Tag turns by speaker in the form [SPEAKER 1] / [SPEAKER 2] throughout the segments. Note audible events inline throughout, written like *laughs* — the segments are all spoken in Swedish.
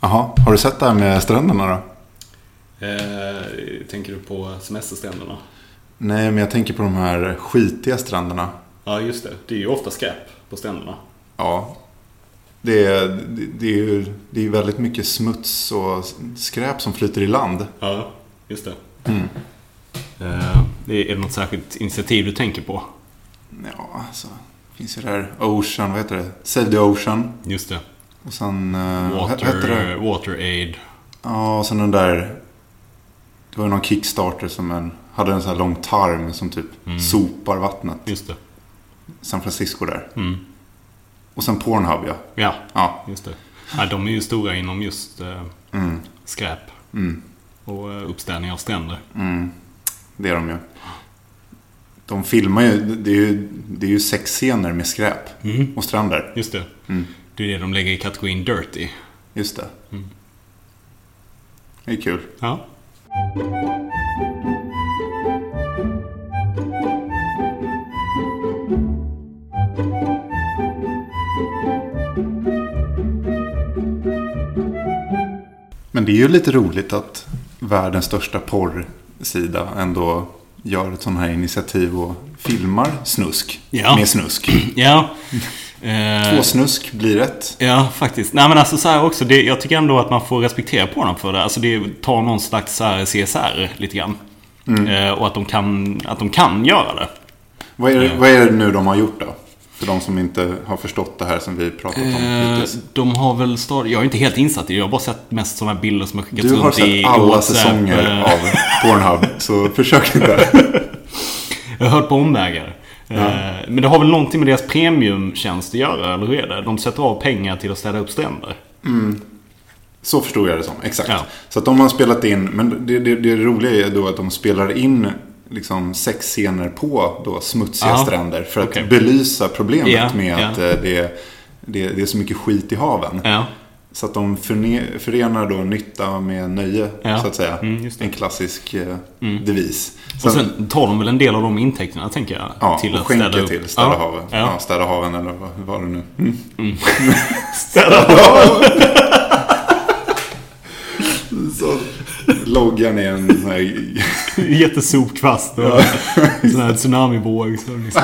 [SPEAKER 1] Jaha, har du sett det här med stränderna då?
[SPEAKER 2] Eh, tänker du på semesterstränderna?
[SPEAKER 1] Nej, men jag tänker på de här skitiga stränderna.
[SPEAKER 2] Ja, just det. Det är ju ofta skräp på stränderna.
[SPEAKER 1] Ja. Det är, det, det är ju det är ju väldigt mycket smuts och skräp som flyter i land.
[SPEAKER 2] Ja, just det.
[SPEAKER 1] Mm.
[SPEAKER 2] Eh, det är det något särskilt initiativ du tänker på?
[SPEAKER 1] Ja, alltså. Det finns ju det här Ocean, vad heter det? Save the Ocean.
[SPEAKER 2] Just det.
[SPEAKER 1] Och sen... eh, vad hette det?
[SPEAKER 2] Water, water Aid.
[SPEAKER 1] Ja, och sen den där... Det var ju någon Kickstarter som en, hade en sån här lång tarm som typ
[SPEAKER 2] Mm.
[SPEAKER 1] sopar vattnet.
[SPEAKER 2] Just det.
[SPEAKER 1] San Francisco där.
[SPEAKER 2] Mm.
[SPEAKER 1] Och sen Pornhub ja.
[SPEAKER 2] Ja,
[SPEAKER 1] Ja.
[SPEAKER 2] just det. Ja, de är ju stora inom just eh,
[SPEAKER 1] Mm,
[SPEAKER 2] skräp
[SPEAKER 1] mm,
[SPEAKER 2] och eh, uppstädning av stränder.
[SPEAKER 1] mm. Det är de ju. De filmar ju. Det är ju, det är ju sexscener med skräp. Och stränder.
[SPEAKER 2] Just det.
[SPEAKER 1] Mm.
[SPEAKER 2] Det är det de lägger i kategorin Dirty.
[SPEAKER 1] Just det.
[SPEAKER 2] Mm.
[SPEAKER 1] Det är kul.
[SPEAKER 2] Ja.
[SPEAKER 1] Men det är ju lite roligt att världens största porrsida ändå gör ett sånt här initiativ och filmar snusk.
[SPEAKER 2] Ja. Mm.
[SPEAKER 1] Med snusk. *laughs*
[SPEAKER 2] Ja. Eh,
[SPEAKER 1] Två snusk blir ett.
[SPEAKER 2] Ja, faktiskt. Nej men alltså så här också. Det, jag tycker ändå att man får respektera på dem för det. Alltså det tar någon slags så här CSR lite grann.
[SPEAKER 1] Mm.
[SPEAKER 2] Eh, och att de, kan, att de kan göra det.
[SPEAKER 1] Vad är, det,
[SPEAKER 2] Ja.
[SPEAKER 1] vad är det nu de har gjort då? För de som inte har förstått det här som vi pratat om
[SPEAKER 2] Eh,
[SPEAKER 1] hittills.
[SPEAKER 2] de har väl start... Jag är inte helt insatt i det. Jag har bara sett mest sådana här bilder som har skickats
[SPEAKER 1] Du har
[SPEAKER 2] runt i
[SPEAKER 1] sett alla
[SPEAKER 2] WhatsApp, eh,
[SPEAKER 1] säsonger
[SPEAKER 2] *laughs*
[SPEAKER 1] av Pornhub, så försök inte.
[SPEAKER 2] Jag har hört på omvägar. Eh, Men det har väl någonting med deras premiumtjänst att göra, eller hur är det? De sätter av pengar till att städa upp stränder.
[SPEAKER 1] Så förstod jag det som, exakt.
[SPEAKER 2] Ja.
[SPEAKER 1] Så att de har spelat in, men det, det, det roliga är då att de spelar in liksom sexscener på då smutsiga
[SPEAKER 2] Ja.
[SPEAKER 1] stränder för att
[SPEAKER 2] Okej.
[SPEAKER 1] belysa problemet
[SPEAKER 2] Ja,
[SPEAKER 1] med
[SPEAKER 2] ja.
[SPEAKER 1] att eh, det, det, det är så mycket skit i haven.
[SPEAKER 2] Ja,
[SPEAKER 1] Så att de förne- förenar då nytta med nöje,
[SPEAKER 2] Ja.
[SPEAKER 1] så att säga.
[SPEAKER 2] Mm, just det. Mm.
[SPEAKER 1] en klassisk eh, devis.
[SPEAKER 2] och sen tar de väl en del av de intäkterna, tänker jag.
[SPEAKER 1] ja, och skänker
[SPEAKER 2] upp.
[SPEAKER 1] till Städa
[SPEAKER 2] Ja,
[SPEAKER 1] haven. Ja.
[SPEAKER 2] Ja.
[SPEAKER 1] städa haven eller vad vad var det nu? Mm.
[SPEAKER 2] Städa
[SPEAKER 1] Så loggan är en sån här
[SPEAKER 2] Jättesopkvast och *laughs* sån här tsunamivåg. Så
[SPEAKER 1] *laughs*
[SPEAKER 2] liksom,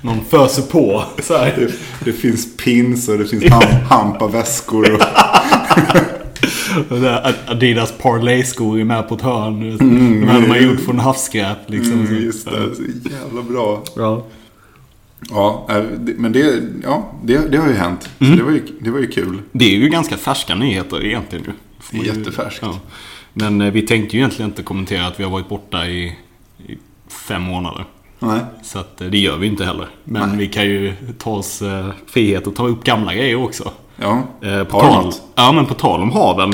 [SPEAKER 2] någon föser på. Så här.
[SPEAKER 1] Det, det finns pins och det finns ham, hampaväskor. Och, Typ.
[SPEAKER 2] Och där Adidas Parlay-skor är med på ett hörn. De här de har gjort från havsskräp. Liksom.
[SPEAKER 1] mm, just det, så jävla bra.
[SPEAKER 2] Ja.
[SPEAKER 1] Ja, eh, det- men det, ja, det, det har ju hänt. Så Det, var ju, det var ju kul.
[SPEAKER 2] Det är ju ganska färska nyheter egentligen. ju. Får
[SPEAKER 1] Det är
[SPEAKER 2] ju-
[SPEAKER 1] jättefärskt.
[SPEAKER 2] Ja. Men eh, vi tänkte ju egentligen inte kommentera att vi har varit borta i, i fem månader.
[SPEAKER 1] Nej.
[SPEAKER 2] Så att, eh, det gör vi inte heller. Men vi kan ju ta oss eh, frihet och ta upp gamla grejer också.
[SPEAKER 1] Ja.
[SPEAKER 2] Eh, på,
[SPEAKER 1] Har du
[SPEAKER 2] tal,
[SPEAKER 1] något?
[SPEAKER 2] ja, men på tal om haven.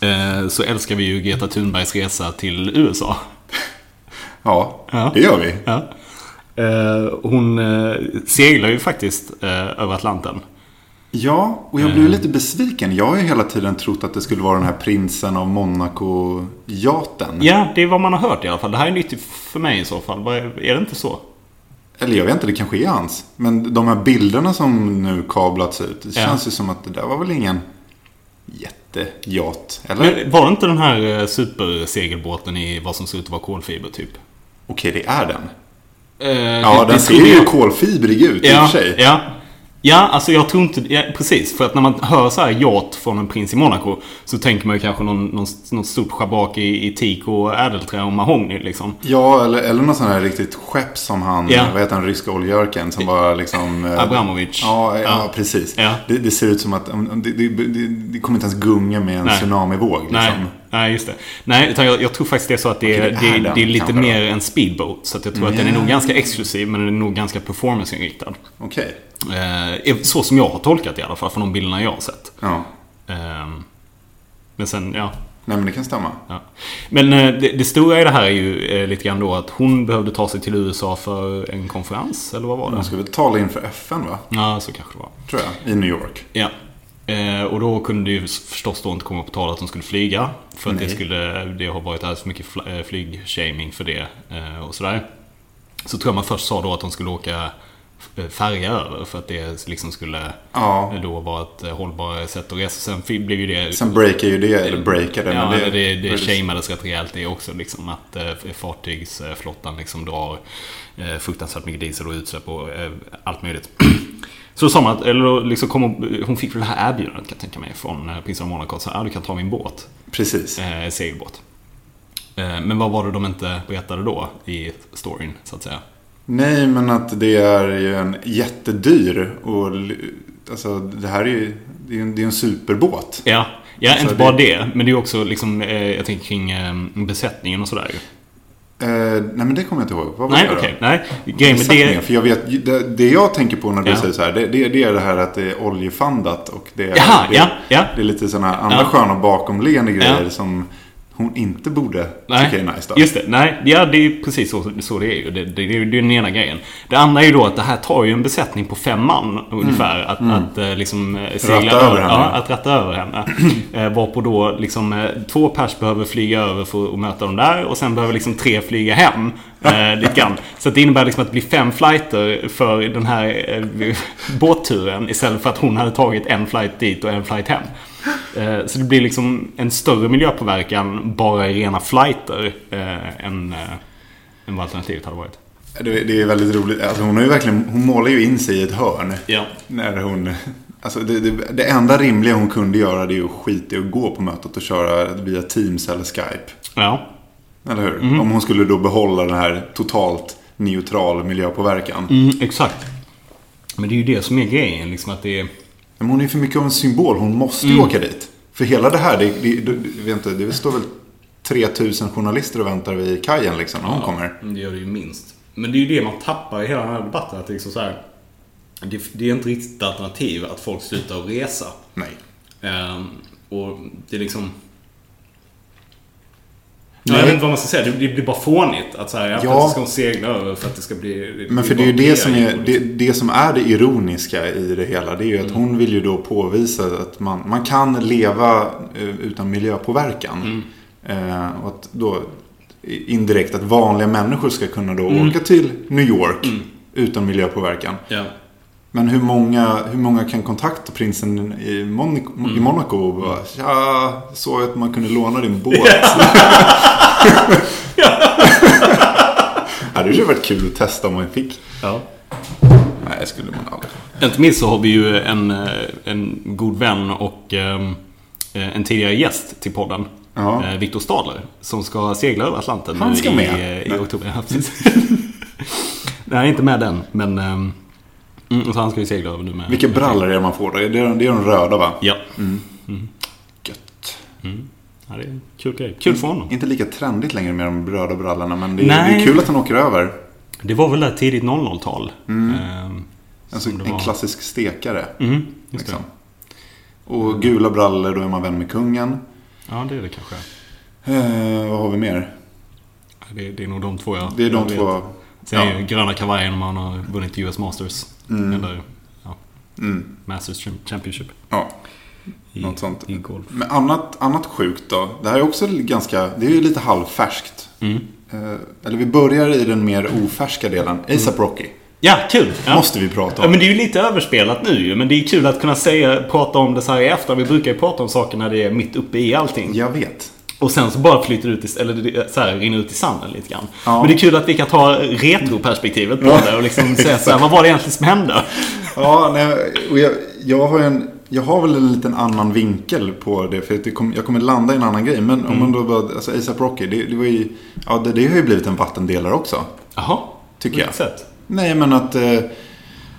[SPEAKER 2] Eh, så älskar vi ju Greta Thunbergs resa till USA.
[SPEAKER 1] Ja,
[SPEAKER 2] Ja.
[SPEAKER 1] det gör vi.
[SPEAKER 2] Ja. Eh, hon eh, seglar ju faktiskt eh, över Atlanten.
[SPEAKER 1] Ja, och jag blev lite besviken. Jag har ju hela tiden trott att det skulle vara den här prinsen av Monaco-jaten.
[SPEAKER 2] Ja, det är vad man har hört i alla fall. Det här är nytt för mig i så fall. Vad Är är det inte så?
[SPEAKER 1] Eller jag vet inte, det kanske är hans. Men de här bilderna som nu kablats ut. Det
[SPEAKER 2] Ja.
[SPEAKER 1] känns ju som att det där var väl ingen jättejat. Eller?
[SPEAKER 2] Men var det inte den här eh, supersegelbåten i vad som ser ut att vara kolfiber typ?
[SPEAKER 1] Okej, det är den.
[SPEAKER 2] Eh,
[SPEAKER 1] Ja, den
[SPEAKER 2] det- det
[SPEAKER 1] ser
[SPEAKER 2] trodde
[SPEAKER 1] ju
[SPEAKER 2] jag.
[SPEAKER 1] kolfibrig ut i och
[SPEAKER 2] Ja,
[SPEAKER 1] för sig.
[SPEAKER 2] ja. ja, alltså jag tror inte... Ja, precis, för att när man hör så här yacht från en prins i Monaco så tänker man ju kanske någon, någon, något stort schabrak i, i teak och ädelträ och mahogny liksom.
[SPEAKER 1] Ja, eller, eller något sånt här riktigt skepp som han,
[SPEAKER 2] Ja.
[SPEAKER 1] vad heter han, ryska oljörken som bara liksom... eh,
[SPEAKER 2] Abramovic.
[SPEAKER 1] Ja, ja, precis.
[SPEAKER 2] Ja.
[SPEAKER 1] Det, det ser ut som att mm, det, det, det, det kommer inte ens gunga med en
[SPEAKER 2] Nej.
[SPEAKER 1] tsunamivåg. Liksom.
[SPEAKER 2] Nej, nej, just det. Nej, utan jag, jag tror faktiskt det är så att det är,
[SPEAKER 1] Okej, det är
[SPEAKER 2] det är,
[SPEAKER 1] den
[SPEAKER 2] det är lite
[SPEAKER 1] kanske då. Mm.
[SPEAKER 2] mer en speedboat. Så att jag tror att den är nog ganska exklusiv, men den är nog ganska performanceinriktad.
[SPEAKER 1] Okej.
[SPEAKER 2] Eh, så som jag har tolkat det i alla fall, från de bilderna jag har sett.
[SPEAKER 1] Ja.
[SPEAKER 2] Ehm, men sen, ja.
[SPEAKER 1] Nej, men det kan stämma.
[SPEAKER 2] ja. Men eh, det, det stora i det här är ju eh, lite grann då att hon behövde ta sig till USA för en konferens, eller vad var det?
[SPEAKER 1] De ska väl tala inför FN, va?
[SPEAKER 2] Ja, så kanske det var.
[SPEAKER 1] Tror jag. I New York.
[SPEAKER 2] Ja. Eh, och då kunde det ju förstås då inte komma på tal att de skulle flyga. För att det,
[SPEAKER 1] Nej.
[SPEAKER 2] skulle, eh, det har varit alldeles för mycket fl- eh, flygshaming för det eh, och sådär. Så tror jag man först sa då att de skulle åka färja över för att det liksom skulle
[SPEAKER 1] Ja.
[SPEAKER 2] då vara ett eh, hållbarare sätt att resa. Sen fi- blev ju det...
[SPEAKER 1] Sen breakar ju det, eller breakar det.
[SPEAKER 2] ja,
[SPEAKER 1] men
[SPEAKER 2] det, det, det
[SPEAKER 1] precis.
[SPEAKER 2] shameades rätt rejält det också. Liksom, att eh, fartygsflottan liksom drar eh, fruktansvärt mycket diesel och utsläpp och eh, allt möjligt. *clears throat* Så sa man att, eller då liksom kom hon, hon fick väl det här erbjudandet kan jag tänka mig från eh, prinsen av Monaco. Så här, ah, du kan ta min båt.
[SPEAKER 1] Precis.
[SPEAKER 2] Eh, segelbåt. Eh, men vad var det de inte berättade då i storyn så att säga?
[SPEAKER 1] Nej, men att det är ju en jättedyr och l- alltså det här är ju det är ju en, det är en superbåt.
[SPEAKER 2] Ja, ja
[SPEAKER 1] Alltså,
[SPEAKER 2] inte
[SPEAKER 1] det-
[SPEAKER 2] bara det. Men det är ju också liksom, eh, jag tänker kring eh, besättningen och sådär ju.
[SPEAKER 1] Eh, nej, men det kommer jag inte ihåg. Vad var
[SPEAKER 2] Nej,
[SPEAKER 1] det då?
[SPEAKER 2] okej. nej, grejen med
[SPEAKER 1] Exakt
[SPEAKER 2] det...
[SPEAKER 1] mer, för jag vet, det, det jag tänker på när du
[SPEAKER 2] Ja.
[SPEAKER 1] säger så här, det, det, det är det här att det är oljefandat och det är,
[SPEAKER 2] Jaha,
[SPEAKER 1] det,
[SPEAKER 2] ja, ja.
[SPEAKER 1] det är lite sådana här andra
[SPEAKER 2] Ja.
[SPEAKER 1] sköna bakomliggande grejer
[SPEAKER 2] Ja.
[SPEAKER 1] som hon inte borde
[SPEAKER 2] Nej,
[SPEAKER 1] tycka är nice då.
[SPEAKER 2] just det. Nej, ja, det är ju precis så, så det är ju. Det, det, det är ju den ena grejen. Det andra är ju då att det här tar ju en besättning på fem man ungefär. Att, att eh, liksom eh, segla
[SPEAKER 1] Ratta över henne.
[SPEAKER 2] Ja, att ratta över henne. *clears throat* eh, varpå då liksom eh, två pers behöver flyga över för att möta dem där. Och sen behöver liksom tre flyga hem.
[SPEAKER 1] *laughs*
[SPEAKER 2] Eh, lite grann. Så att det innebär liksom att det blir fem flighter för den här eh, *laughs* båtturen. Istället för att hon hade tagit en flight dit och en flight hem. Eh, Så det blir liksom en större miljöpåverkan bara i rena flighter eh, än, eh, än vad alternativet hade varit.
[SPEAKER 1] Det, det är väldigt roligt. Alltså hon, har ju verkligen, hon målar ju in sig i ett hörn.
[SPEAKER 2] Ja.
[SPEAKER 1] När hon... Alltså det, det, det enda rimliga hon kunde göra det är ju att skita i att gå på mötet och köra via Teams eller Skype.
[SPEAKER 2] Ja.
[SPEAKER 1] Eller hur? Om hon skulle då behålla den här totalt neutral miljöpåverkan.
[SPEAKER 2] Mm, exakt. Men det är ju det som är grejen. Liksom att det är...
[SPEAKER 1] Men hon är för mycket av en symbol. Hon måste ju åka dit. För hela det här, det, det, det, jag vet inte, det står väl 3000 journalister och väntar vid kajen liksom när hon kommer.
[SPEAKER 2] Mm, Det gör det ju minst. Men det är ju det man tappar i hela den här debatten. Att det, är liksom så här, det, det är inte riktigt ett alternativ att folk slutar att resa.
[SPEAKER 1] Nej.
[SPEAKER 2] Ehm, och det är liksom...
[SPEAKER 1] Nej.
[SPEAKER 2] Jag vet inte vad man ska säga. Det blir det blir bara fånigt. Att så här, ja.
[SPEAKER 1] Ja.
[SPEAKER 2] plötsligt ska hon segla över för att det ska bli...
[SPEAKER 1] Men för det
[SPEAKER 2] blir
[SPEAKER 1] är ju
[SPEAKER 2] bara
[SPEAKER 1] det som
[SPEAKER 2] PR
[SPEAKER 1] är det, det som är det ironiska i det hela. Det är ju att hon vill ju då påvisa att man, man kan leva eh, utan miljöpåverkan. Eh, och att då i- indirekt att vanliga människor ska kunna då åka till New York utan miljöpåverkan.
[SPEAKER 2] Ja.
[SPEAKER 1] Men hur många, hur många kan kontakta prinsen i Monaco, i Monaco och bara Tja, såg att man kunde låna din båt. *laughs* Ja, det hade ju varit kul att testa om man fick.
[SPEAKER 2] ja.
[SPEAKER 1] Nej, det skulle man aldrig.
[SPEAKER 2] Inte minst så har vi ju en, eh, en god vän och ehm, eh, en tidigare gäst till podden.
[SPEAKER 1] Ja.
[SPEAKER 2] Eh, Viktor Stadler. Som ska segla över Atlanten
[SPEAKER 1] Han
[SPEAKER 2] nu
[SPEAKER 1] ska
[SPEAKER 2] i,
[SPEAKER 1] med.
[SPEAKER 2] eh,
[SPEAKER 1] Nej.
[SPEAKER 2] i oktober. Ja, precis. *laughs* Nej, inte med den. Men... ehm, mm, så han ska ju segla över nu med...
[SPEAKER 1] Vilka brallor är det man får då? Det är, det är de röda va?
[SPEAKER 2] Ja.
[SPEAKER 1] Gött.
[SPEAKER 2] ja det är kul grej. Kul för honom.
[SPEAKER 1] Inte lika trendigt längre med de röda brallorna men det är,
[SPEAKER 2] Nej.
[SPEAKER 1] det är kul att han åker över.
[SPEAKER 2] Det var väl där tidigt 00-tal. ehm,
[SPEAKER 1] Mm. Alltså,
[SPEAKER 2] som det
[SPEAKER 1] en
[SPEAKER 2] var.
[SPEAKER 1] klassisk stekare.
[SPEAKER 2] Mm, just
[SPEAKER 1] Liksom.
[SPEAKER 2] det.
[SPEAKER 1] Och gula brallor, då är man vän med kungen.
[SPEAKER 2] Ja, det är det kanske.
[SPEAKER 1] Eh, vad har vi mer?
[SPEAKER 2] Det, det är nog de två jag
[SPEAKER 1] Det är de
[SPEAKER 2] jag vet.
[SPEAKER 1] två.
[SPEAKER 2] Sen är
[SPEAKER 1] Ja.
[SPEAKER 2] ju gröna kavajen om man har vunnit US Masters. Eller ja,
[SPEAKER 1] Mm,
[SPEAKER 2] Masters Cham- Championship.
[SPEAKER 1] ja.
[SPEAKER 2] I,
[SPEAKER 1] Något sånt.
[SPEAKER 2] I golf.
[SPEAKER 1] Men annat, annat sjukt då. Det här är också ganska, det är ju lite halvfärskt.
[SPEAKER 2] Mm.
[SPEAKER 1] Eh, eller vi börjar i den mer ofärska delen. ASAP Rocky.
[SPEAKER 2] Ja, kul! Ja.
[SPEAKER 1] Måste vi prata
[SPEAKER 2] Ja,
[SPEAKER 1] om.
[SPEAKER 2] men det är ju lite överspelat nu ju. Men det är kul att kunna säga, prata om det så här i efter. Vi brukar ju prata om saker när det är mitt uppe i allting.
[SPEAKER 1] Jag vet.
[SPEAKER 2] Och sen så bara flyter ut, i, eller det- så här, rinner ut i sanden lite grann.
[SPEAKER 1] Ja.
[SPEAKER 2] Men det är kul att vi kan ta retroperspektivet på det och liksom säga så här, vad var det egentligen som hände?
[SPEAKER 1] Ja, nej, och jag, jag, har ju en, jag har väl en liten annan vinkel på det. För att det kom, jag kommer landa i en annan grej. Men om man då bara, alltså ASAP Rocky, det, det var ju, ja det, det har ju blivit en vattendelare också.
[SPEAKER 2] Jaha,
[SPEAKER 1] Tycker
[SPEAKER 2] på
[SPEAKER 1] jag.
[SPEAKER 2] vilket sätt?
[SPEAKER 1] Nej, men att eh,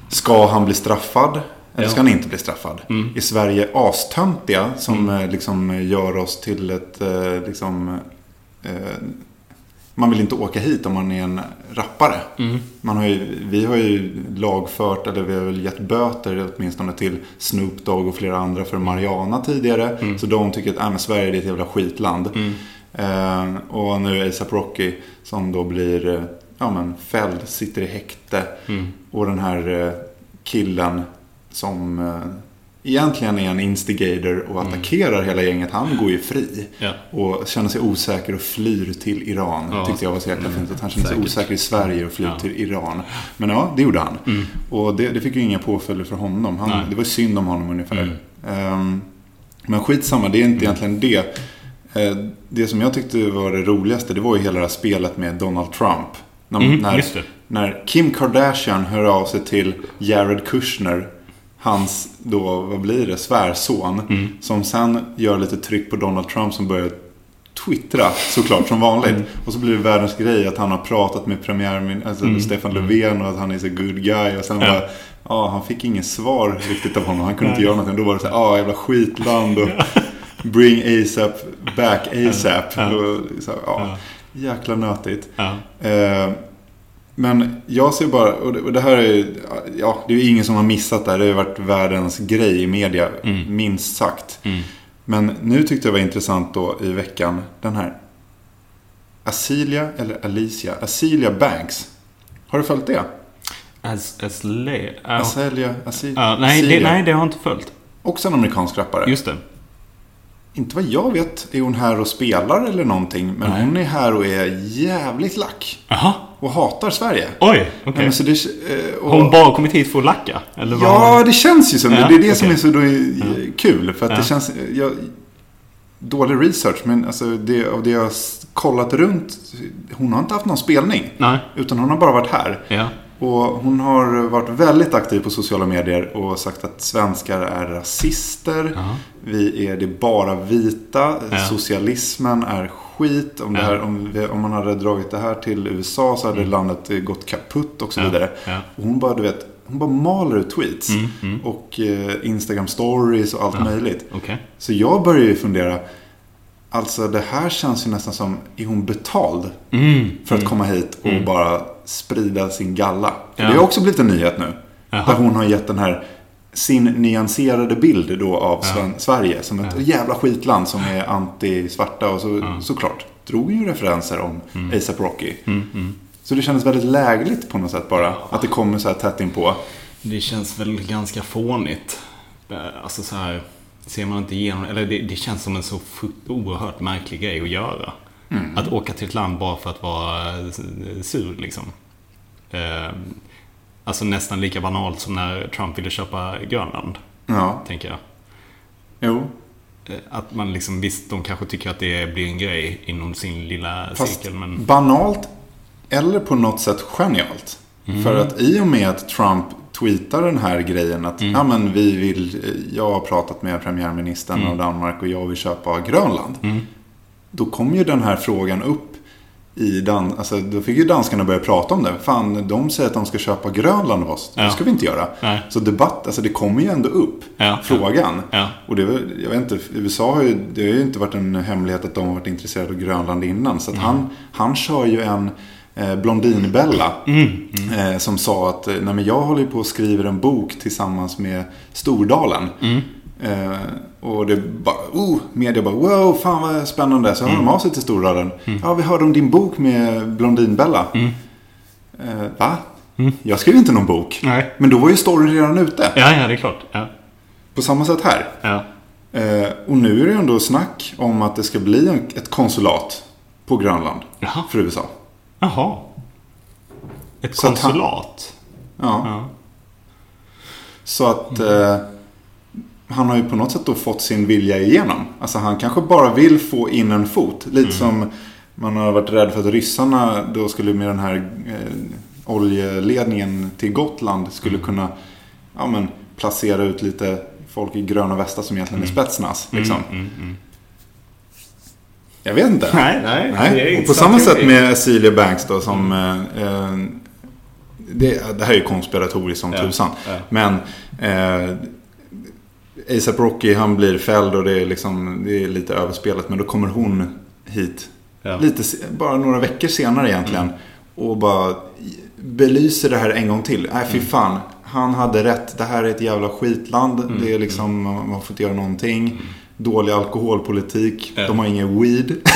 [SPEAKER 1] ska han bli straffad? Eller
[SPEAKER 2] Ja.
[SPEAKER 1] ska han inte bli straffad? I Sverige astöntiga som eh, liksom gör oss till ett eh, liksom... Eh, man vill inte åka hit om man är en rappare. Man har ju, vi har ju lagfört, eller vi har väl gett böter åtminstone till Snoop Dogg och flera andra för Mariana tidigare. Så de tycker att äh, men Sverige är ett jävla skitland.
[SPEAKER 2] Mm.
[SPEAKER 1] Eh, och nu ASAP Rocky som då blir eh, ja, men fälld,
[SPEAKER 2] Mm.
[SPEAKER 1] sitter i häkte. Och den här eh, killen som eh, egentligen är en instigator och
[SPEAKER 2] Mm.
[SPEAKER 1] attackerar hela gänget. Han går ju fri.
[SPEAKER 2] Ja.
[SPEAKER 1] Och känner sig osäker och flyr till Iran.
[SPEAKER 2] Ja. Mm.
[SPEAKER 1] Tyckte jag var så jäkla fint. Att han kände sig
[SPEAKER 2] Säkert.
[SPEAKER 1] osäker i Sverige och flyr
[SPEAKER 2] Ja.
[SPEAKER 1] till Iran. Men ja, det gjorde han.
[SPEAKER 2] Mm.
[SPEAKER 1] Och det, det fick ju inga påföljder för honom. Han,
[SPEAKER 2] Nej. Mm.
[SPEAKER 1] det var ju synd om honom ungefär. Ehm, men skitsamma, det är inte egentligen det. Eh, Det som jag tyckte var det roligaste, det var ju hela det här spelet med Donald Trump. När,
[SPEAKER 2] Mm,
[SPEAKER 1] när,
[SPEAKER 2] just det.
[SPEAKER 1] när Kim Kardashian hör av sig till Jared Kushner, hans då, vad blir det, svärson.
[SPEAKER 2] Mm.
[SPEAKER 1] Som sen gör lite tryck på Donald Trump som börjar twittra såklart som vanligt.
[SPEAKER 2] Mm.
[SPEAKER 1] Och så blir det världens grej att han har pratat med premiärminister alltså Stefan Löfven och att han är så good guy. Och sen
[SPEAKER 2] Mm. Ja.
[SPEAKER 1] bara, ja han fick inget svar riktigt av honom. Han kunde inte göra någonting. Då var det så här, ja jävla skitland
[SPEAKER 2] *laughs*
[SPEAKER 1] och bring ASAP back ASAP.
[SPEAKER 2] Ja.
[SPEAKER 1] Och så här, ja,
[SPEAKER 2] Ja.
[SPEAKER 1] jäkla nötigt.
[SPEAKER 2] Ja.
[SPEAKER 1] Eh, men jag ser bara, och det, och det här är ju- ja, det är ju ingen som har missat det här. Det har ju varit världens grej i media, minst sagt.
[SPEAKER 2] Mm.
[SPEAKER 1] Men nu tyckte jag var intressant då i veckan, den här. Asilia, eller Alicia, Asilia Banks. Har du följt det?
[SPEAKER 2] As, as le, ja.
[SPEAKER 1] Asilia, Asilia.
[SPEAKER 2] Ja, nej, det,
[SPEAKER 1] Asilia.
[SPEAKER 2] nej, det har jag inte följt.
[SPEAKER 1] Också en amerikansk rappare.
[SPEAKER 2] Just det.
[SPEAKER 1] Inte vad jag vet är hon här och spelar eller någonting. Men
[SPEAKER 2] Nej.
[SPEAKER 1] hon är här och är jävligt lack.
[SPEAKER 2] Jaha.
[SPEAKER 1] Och hatar Sverige.
[SPEAKER 2] Oj, okej.
[SPEAKER 1] Ja, men så det, eh, och-
[SPEAKER 2] Har hon bara kommit hit för att lacka? Eller vad
[SPEAKER 1] Ja, det känns ju som det.
[SPEAKER 2] Ja,
[SPEAKER 1] Det är det som är
[SPEAKER 2] okej.
[SPEAKER 1] så då, kul. För att det
[SPEAKER 2] Ja.
[SPEAKER 1] känns... Jag, dålig research, men alltså det, av det jag har s- kollat runt. Hon har inte haft någon spelning.
[SPEAKER 2] Nej.
[SPEAKER 1] Utan hon har bara varit här.
[SPEAKER 2] Ja.
[SPEAKER 1] Och hon har varit väldigt aktiv på sociala medier och sagt att svenskar är rasister.
[SPEAKER 2] Ja.
[SPEAKER 1] Vi är det är bara vita.
[SPEAKER 2] Ja.
[SPEAKER 1] Socialismen är skit. Om, det
[SPEAKER 2] Ja. Mm.
[SPEAKER 1] här, om, vi, om man hade dragit det här till USA så hade landet eh, gått kaputt och så
[SPEAKER 2] Ja.
[SPEAKER 1] vidare.
[SPEAKER 2] Ja.
[SPEAKER 1] Och hon bara, du vet, hon bara maler ut tweets. Och eh, Instagram stories och allt möjligt.
[SPEAKER 2] Okej.
[SPEAKER 1] Så jag börjar ju fundera. Alltså det här känns ju nästan som, är hon betald?
[SPEAKER 2] Mm,
[SPEAKER 1] För att komma hit och bara sprida sin galla. För
[SPEAKER 2] Ja.
[SPEAKER 1] Det har också blivit en nyhet nu.
[SPEAKER 2] Jaha.
[SPEAKER 1] Där hon har gett den här, sin nyanserade bild då av Sven- Sverige. Som ett jävla skitland som är anti-svarta. Och så, såklart, drog ju referenser om
[SPEAKER 2] Mm.
[SPEAKER 1] ASAP Rocky. Så det kändes väldigt lägligt på något sätt bara. Att det kommer så här tätt inpå.
[SPEAKER 2] Det känns väl ganska fånigt. Eh, Alltså så här. Ser man inte igenom Eller det, det känns som en så fru- oerhört märklig grej att göra. Att åka till ett land bara för att vara eh, sur liksom. Eh, Alltså nästan lika banalt som när Trump ville köpa Grönland.
[SPEAKER 1] Ja,
[SPEAKER 2] Tänker jag.
[SPEAKER 1] jo.
[SPEAKER 2] Eh, Att man liksom, visst de kanske tycker att det blir en grej inom sin lilla
[SPEAKER 1] Fast
[SPEAKER 2] cirkel men...
[SPEAKER 1] banalt eller på något sätt genialt.
[SPEAKER 2] Mm.
[SPEAKER 1] För att i och med att Trump tweetar den här grejen att
[SPEAKER 2] Mm.
[SPEAKER 1] ja, men vi vill, jag har pratat med premiärministern
[SPEAKER 2] Mm.
[SPEAKER 1] av Danmark och jag vill köpa Grönland. Då kom ju den här frågan upp i Dan alltså, då fick ju danskarna börja prata om det. Fan, de säger att de ska köpa Grönland av oss. Det
[SPEAKER 2] Ja.
[SPEAKER 1] ska vi inte göra.
[SPEAKER 2] Nej.
[SPEAKER 1] Så debatt, alltså det kommer ju ändå upp,
[SPEAKER 2] Ja.
[SPEAKER 1] frågan.
[SPEAKER 2] Ja.
[SPEAKER 1] Och det var, jag vet inte, USA har ju, det har ju inte varit en hemlighet att de har varit intresserade av Grönland innan.
[SPEAKER 2] Mm.
[SPEAKER 1] Så att han, han kör ju en eh, Blondinbella.
[SPEAKER 2] Mm.
[SPEAKER 1] Eh, som sa att, eh, nej men jag håller ju på och skriver en bok tillsammans med Stordalen.
[SPEAKER 2] Mm.
[SPEAKER 1] Eh, och det bara, oh, media bara, wow, fan vad spännande. Så hör
[SPEAKER 2] Mm.
[SPEAKER 1] de av sig till Stordalen. Ja, vi hörde om din bok med Blondinbella.
[SPEAKER 2] Mm.
[SPEAKER 1] Eh, va? Jag skrev inte någon bok.
[SPEAKER 2] Nej.
[SPEAKER 1] Men då var ju storyn redan ute.
[SPEAKER 2] Ja, ja, det är klart. Ja.
[SPEAKER 1] På samma sätt här.
[SPEAKER 2] Ja.
[SPEAKER 1] Eh, och nu är det ju ändå snack om att det ska bli en, ett konsulat på Grönland
[SPEAKER 2] Jaha.
[SPEAKER 1] för USA.
[SPEAKER 2] Jaha. Ett
[SPEAKER 1] Så att han-
[SPEAKER 2] konsulat?
[SPEAKER 1] Ja.
[SPEAKER 2] Ja.
[SPEAKER 1] Så att eh, han har ju på något sätt då fått sin vilja igenom. Alltså han kanske bara vill få in en fot. Lite som man har varit rädd för att ryssarna då skulle med den här eh, oljeledningen till Gotland skulle kunna ja, men, placera ut lite folk i gröna västar som egentligen är Spetsnaz. Liksom.
[SPEAKER 2] Mm.
[SPEAKER 1] Jag vet inte.
[SPEAKER 2] Nej, nej.
[SPEAKER 1] Nej. Och på samma sätt med Azealia Banks då som... Eh, eh, det, det här är ju konspiratoriskt som
[SPEAKER 2] Ja,
[SPEAKER 1] tusan.
[SPEAKER 2] ja.
[SPEAKER 1] Men eh, ASAP Rocky han blir fälld och det är, liksom, det är lite överspelat. Men då kommer hon hit.
[SPEAKER 2] Ja. Mm.
[SPEAKER 1] Lite, se- bara några veckor senare egentligen. Och bara belyser det här en gång till. Nej,
[SPEAKER 2] Mm.
[SPEAKER 1] fy fan. Han hade rätt. Det här är ett jävla skitland.
[SPEAKER 2] Mm.
[SPEAKER 1] Det är liksom, man får inte göra någonting. Dålig alkoholpolitik.
[SPEAKER 2] Ja.
[SPEAKER 1] De har ingen weed. *laughs*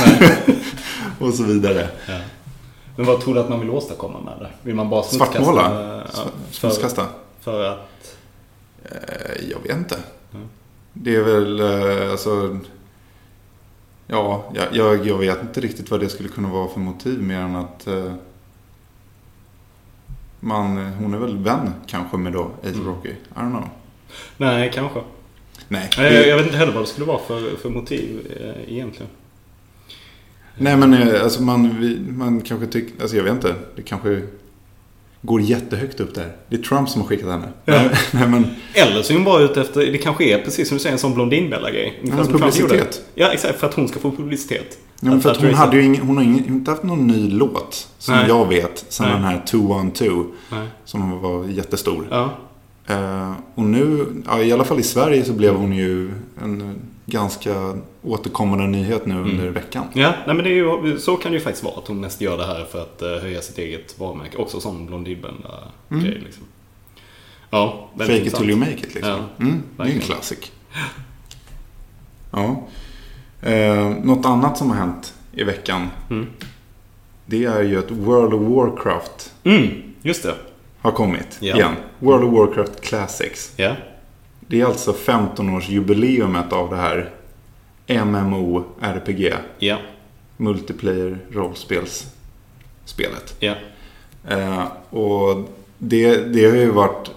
[SPEAKER 1] och så vidare.
[SPEAKER 2] Men vad tror du att man vill åstadkomma med det? Vill man bara smutskasta?
[SPEAKER 1] Svartmåla?
[SPEAKER 2] Ja, för,
[SPEAKER 1] Smutskasta?
[SPEAKER 2] för att...
[SPEAKER 1] Eh, Jag vet inte.
[SPEAKER 2] Mm.
[SPEAKER 1] Det är väl eh, alltså... Ja, jag- jag, jag vet inte riktigt vad det skulle kunna vara för motiv mer än att... Eh, man, hon är väl vän kanske med då Ace
[SPEAKER 2] Mm.
[SPEAKER 1] Rocky. I don't know.
[SPEAKER 2] Nej, kanske.
[SPEAKER 1] Nej,
[SPEAKER 2] Nej,
[SPEAKER 1] det-
[SPEAKER 2] Jag, jag vet inte heller vad det skulle vara för, för motiv eh, egentligen.
[SPEAKER 1] Nej men eh, alltså man, vi, man kanske tycker, alltså jag vet inte, det kanske går jättehögt upp där. Det är Trump som har skickat henne.
[SPEAKER 2] Ja.
[SPEAKER 1] *laughs* Nej men,
[SPEAKER 2] Eller så är hon bara ute efter, det kanske är precis som du säger, en sån Blondinbella-grej. Ungefär
[SPEAKER 1] men
[SPEAKER 2] som Trump gjorde.
[SPEAKER 1] publicitet.
[SPEAKER 2] Ja, exakt. För att hon ska få publicitet.
[SPEAKER 1] Ja, men för att
[SPEAKER 2] Att
[SPEAKER 1] hon
[SPEAKER 2] Teresa-
[SPEAKER 1] hade ju ingen, hon har ingen, inte haft någon ny låt, som
[SPEAKER 2] Nej.
[SPEAKER 1] jag vet, sen
[SPEAKER 2] Nej.
[SPEAKER 1] den här 212,
[SPEAKER 2] Nej.
[SPEAKER 1] som var jättestor.
[SPEAKER 2] Ja.
[SPEAKER 1] Eh, och nu, ja, i alla fall i Sverige så blev hon ju en eh, ganska återkommande nyhet
[SPEAKER 2] Mm.
[SPEAKER 1] nu under veckan.
[SPEAKER 2] Ja, nej men det är ju, så kan det ju faktiskt vara. Att hon mest gör det här för att eh, höja sitt eget varumärke. Också som Blondinbella-grej liksom. Ja,
[SPEAKER 1] Mm.
[SPEAKER 2] väldigt
[SPEAKER 1] Fake it
[SPEAKER 2] intressant.
[SPEAKER 1] till you make it liksom.
[SPEAKER 2] Ja,
[SPEAKER 1] mm, det är ju en
[SPEAKER 2] verkligen.
[SPEAKER 1] klassik. Ja. Eh, något annat som har hänt i veckan.
[SPEAKER 2] Mm.
[SPEAKER 1] Det är ju att World of Warcraft
[SPEAKER 2] Mm, just det.
[SPEAKER 1] har kommit
[SPEAKER 2] Ja.
[SPEAKER 1] igen. World of Warcraft Classics.
[SPEAKER 2] Ja.
[SPEAKER 1] Det är alltså 15-årsjubileumet av det här MMO-RPG.
[SPEAKER 2] Ja.
[SPEAKER 1] Multiplayer rollspelsspelet.
[SPEAKER 2] Ja.
[SPEAKER 1] Eh, och det, det har ju varit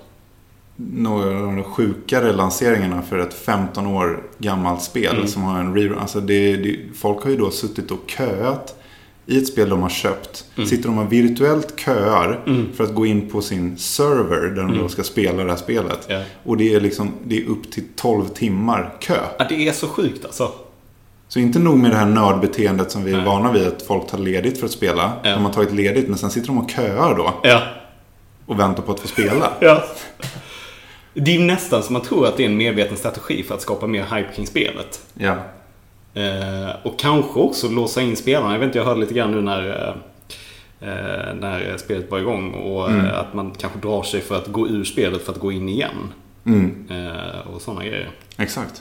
[SPEAKER 1] några av de sjukare lanseringarna för ett 15 år gammalt spel
[SPEAKER 2] Mm.
[SPEAKER 1] som har en rerun. Alltså det, det, folk har ju då suttit och köat i ett spel de har köpt.
[SPEAKER 2] Mm.
[SPEAKER 1] Sitter de och virtuellt köar
[SPEAKER 2] Mm.
[SPEAKER 1] för att gå in på sin server där de då
[SPEAKER 2] Mm.
[SPEAKER 1] ska spela det här spelet.
[SPEAKER 2] Ja.
[SPEAKER 1] Och det är liksom det är upp till 12 timmar kö.
[SPEAKER 2] ja. Det är så sjukt alltså.
[SPEAKER 1] Så inte nog med det här nördbeteendet som vi är
[SPEAKER 2] Nej.
[SPEAKER 1] vana vid att folk tar ledigt för att spela.
[SPEAKER 2] Ja.
[SPEAKER 1] De har tagit ledigt men sen sitter de och köar då
[SPEAKER 2] Ja.
[SPEAKER 1] och väntar på att få spela.
[SPEAKER 2] Ja. Det är ju nästan som man tror att det är en medveten strategi för att skapa mer hype kring spelet.
[SPEAKER 1] Ja.
[SPEAKER 2] Eh, och kanske också låsa in spelarna. Jag vet inte, jag hörde lite grann nu när, eh, eh, när spelet var igång. Och eh, att man kanske drar sig för att gå ur spelet för att gå in igen.
[SPEAKER 1] Mm,
[SPEAKER 2] Eh, och sådana grejer.
[SPEAKER 1] exakt.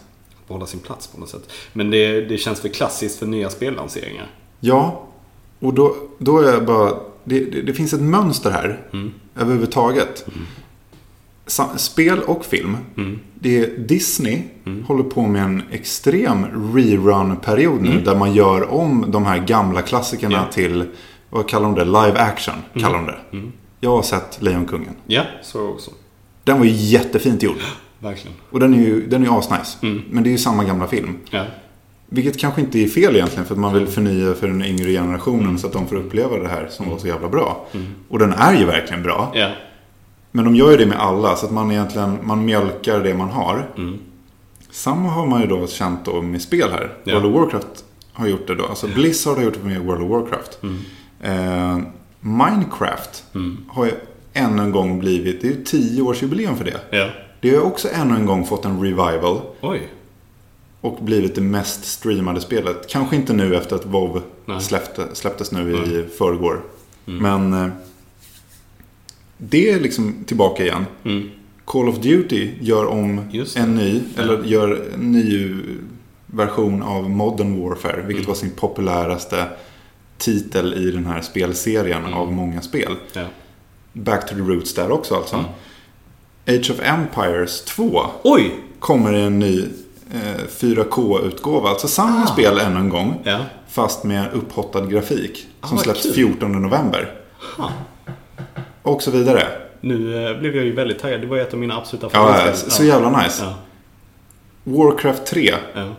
[SPEAKER 2] Att Behålla sin plats på något sätt. Men det, det känns för klassiskt för nya spellanseringar.
[SPEAKER 1] Ja, och då, då är jag bara... Det, det, det finns ett mönster här
[SPEAKER 2] Mm.
[SPEAKER 1] överhuvudtaget. Sa- Spel och film.
[SPEAKER 2] Mm.
[SPEAKER 1] Det är Disney håller på med en extrem rerun-period nu. Där man gör om de här gamla klassikerna
[SPEAKER 2] Mm. Ja. Mm.
[SPEAKER 1] till, vad kallar de det? Live action kallar de det. Jag har sett Lejonkungen.
[SPEAKER 2] Ja, så också.
[SPEAKER 1] Den var ju jättefint gjord.
[SPEAKER 2] Verkligen.
[SPEAKER 1] Och den är ju, den är ju asnice. Men det är ju samma gamla film.
[SPEAKER 2] Ja.
[SPEAKER 1] Vilket kanske inte är fel egentligen för att man vill förnya för den yngre generationen så att de får uppleva det här som var så jävla bra. Och den är ju verkligen bra.
[SPEAKER 2] Ja.
[SPEAKER 1] Men de gör ju det med alla så att man egentligen man mjölkar det man har. Samma har man ju då känt då med spel här.
[SPEAKER 2] Ja.
[SPEAKER 1] World of Warcraft har gjort det då. Alltså Blizzard har gjort det med World of Warcraft. Eh, Minecraft har ju ännu en gång blivit, det är ju tioårsjubileum för det.
[SPEAKER 2] Ja.
[SPEAKER 1] Det har ju också ännu en gång fått en revival.
[SPEAKER 2] Oj.
[SPEAKER 1] Och blivit det mest streamade spelet. Kanske inte nu efter att WoW
[SPEAKER 2] Nej. Mm.
[SPEAKER 1] släppte, släpptes nu i förrgår. Men eh, det är liksom tillbaka igen.
[SPEAKER 2] Mm.
[SPEAKER 1] Call of Duty gör om
[SPEAKER 2] Just det.
[SPEAKER 1] en ny, eller gör en ny version av Modern Warfare. Vilket
[SPEAKER 2] Mm.
[SPEAKER 1] var sin populäraste titel i den här spelserien
[SPEAKER 2] Mm.
[SPEAKER 1] av många spel.
[SPEAKER 2] Ja.
[SPEAKER 1] Back to the Roots där också alltså. Age of Empires 2
[SPEAKER 2] Oj!
[SPEAKER 1] kommer en ny eh, 4K-utgåva. Alltså
[SPEAKER 2] Ah.
[SPEAKER 1] samma spel ännu en gång.
[SPEAKER 2] Ja.
[SPEAKER 1] Fast med upphottad grafik. som
[SPEAKER 2] Ah, vad
[SPEAKER 1] släpps
[SPEAKER 2] kul.
[SPEAKER 1] 14 november. Och så vidare.
[SPEAKER 2] Nu eh, blev jag ju väldigt taggad. Det var ju ett av mina absoluta
[SPEAKER 1] Ja, eh,
[SPEAKER 2] favoritspel.
[SPEAKER 1] så jävla nice.
[SPEAKER 2] Ja.
[SPEAKER 1] Warcraft 3,
[SPEAKER 2] Ja.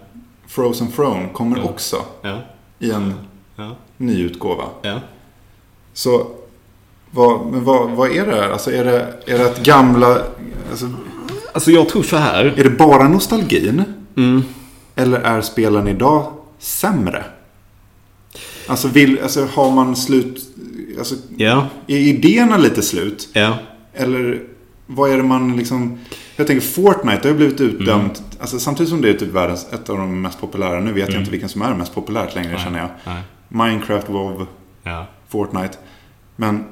[SPEAKER 1] Frozen Throne, kommer också
[SPEAKER 2] Ja.
[SPEAKER 1] i en
[SPEAKER 2] Ja.
[SPEAKER 1] ny utgåva.
[SPEAKER 2] Ja.
[SPEAKER 1] Så vad, men vad, vad är det här? Alltså är det, är det att gamla... Alltså,
[SPEAKER 2] Alltså jag tror så här.
[SPEAKER 1] är det bara nostalgin? Eller är spelen idag sämre? Alltså, vill, alltså har man slut... Alltså,
[SPEAKER 2] Ja.
[SPEAKER 1] är idéerna lite slut?
[SPEAKER 2] Ja.
[SPEAKER 1] Eller vad är det man liksom... Jag tänker Fortnite har ju blivit utdömt. Alltså, samtidigt som det är typ världens, ett av de mest populära. Nu vet jag inte vilken som är mest populärt längre känner jag.
[SPEAKER 2] Nej.
[SPEAKER 1] Minecraft, WoW,
[SPEAKER 2] Ja.
[SPEAKER 1] Fortnite. Men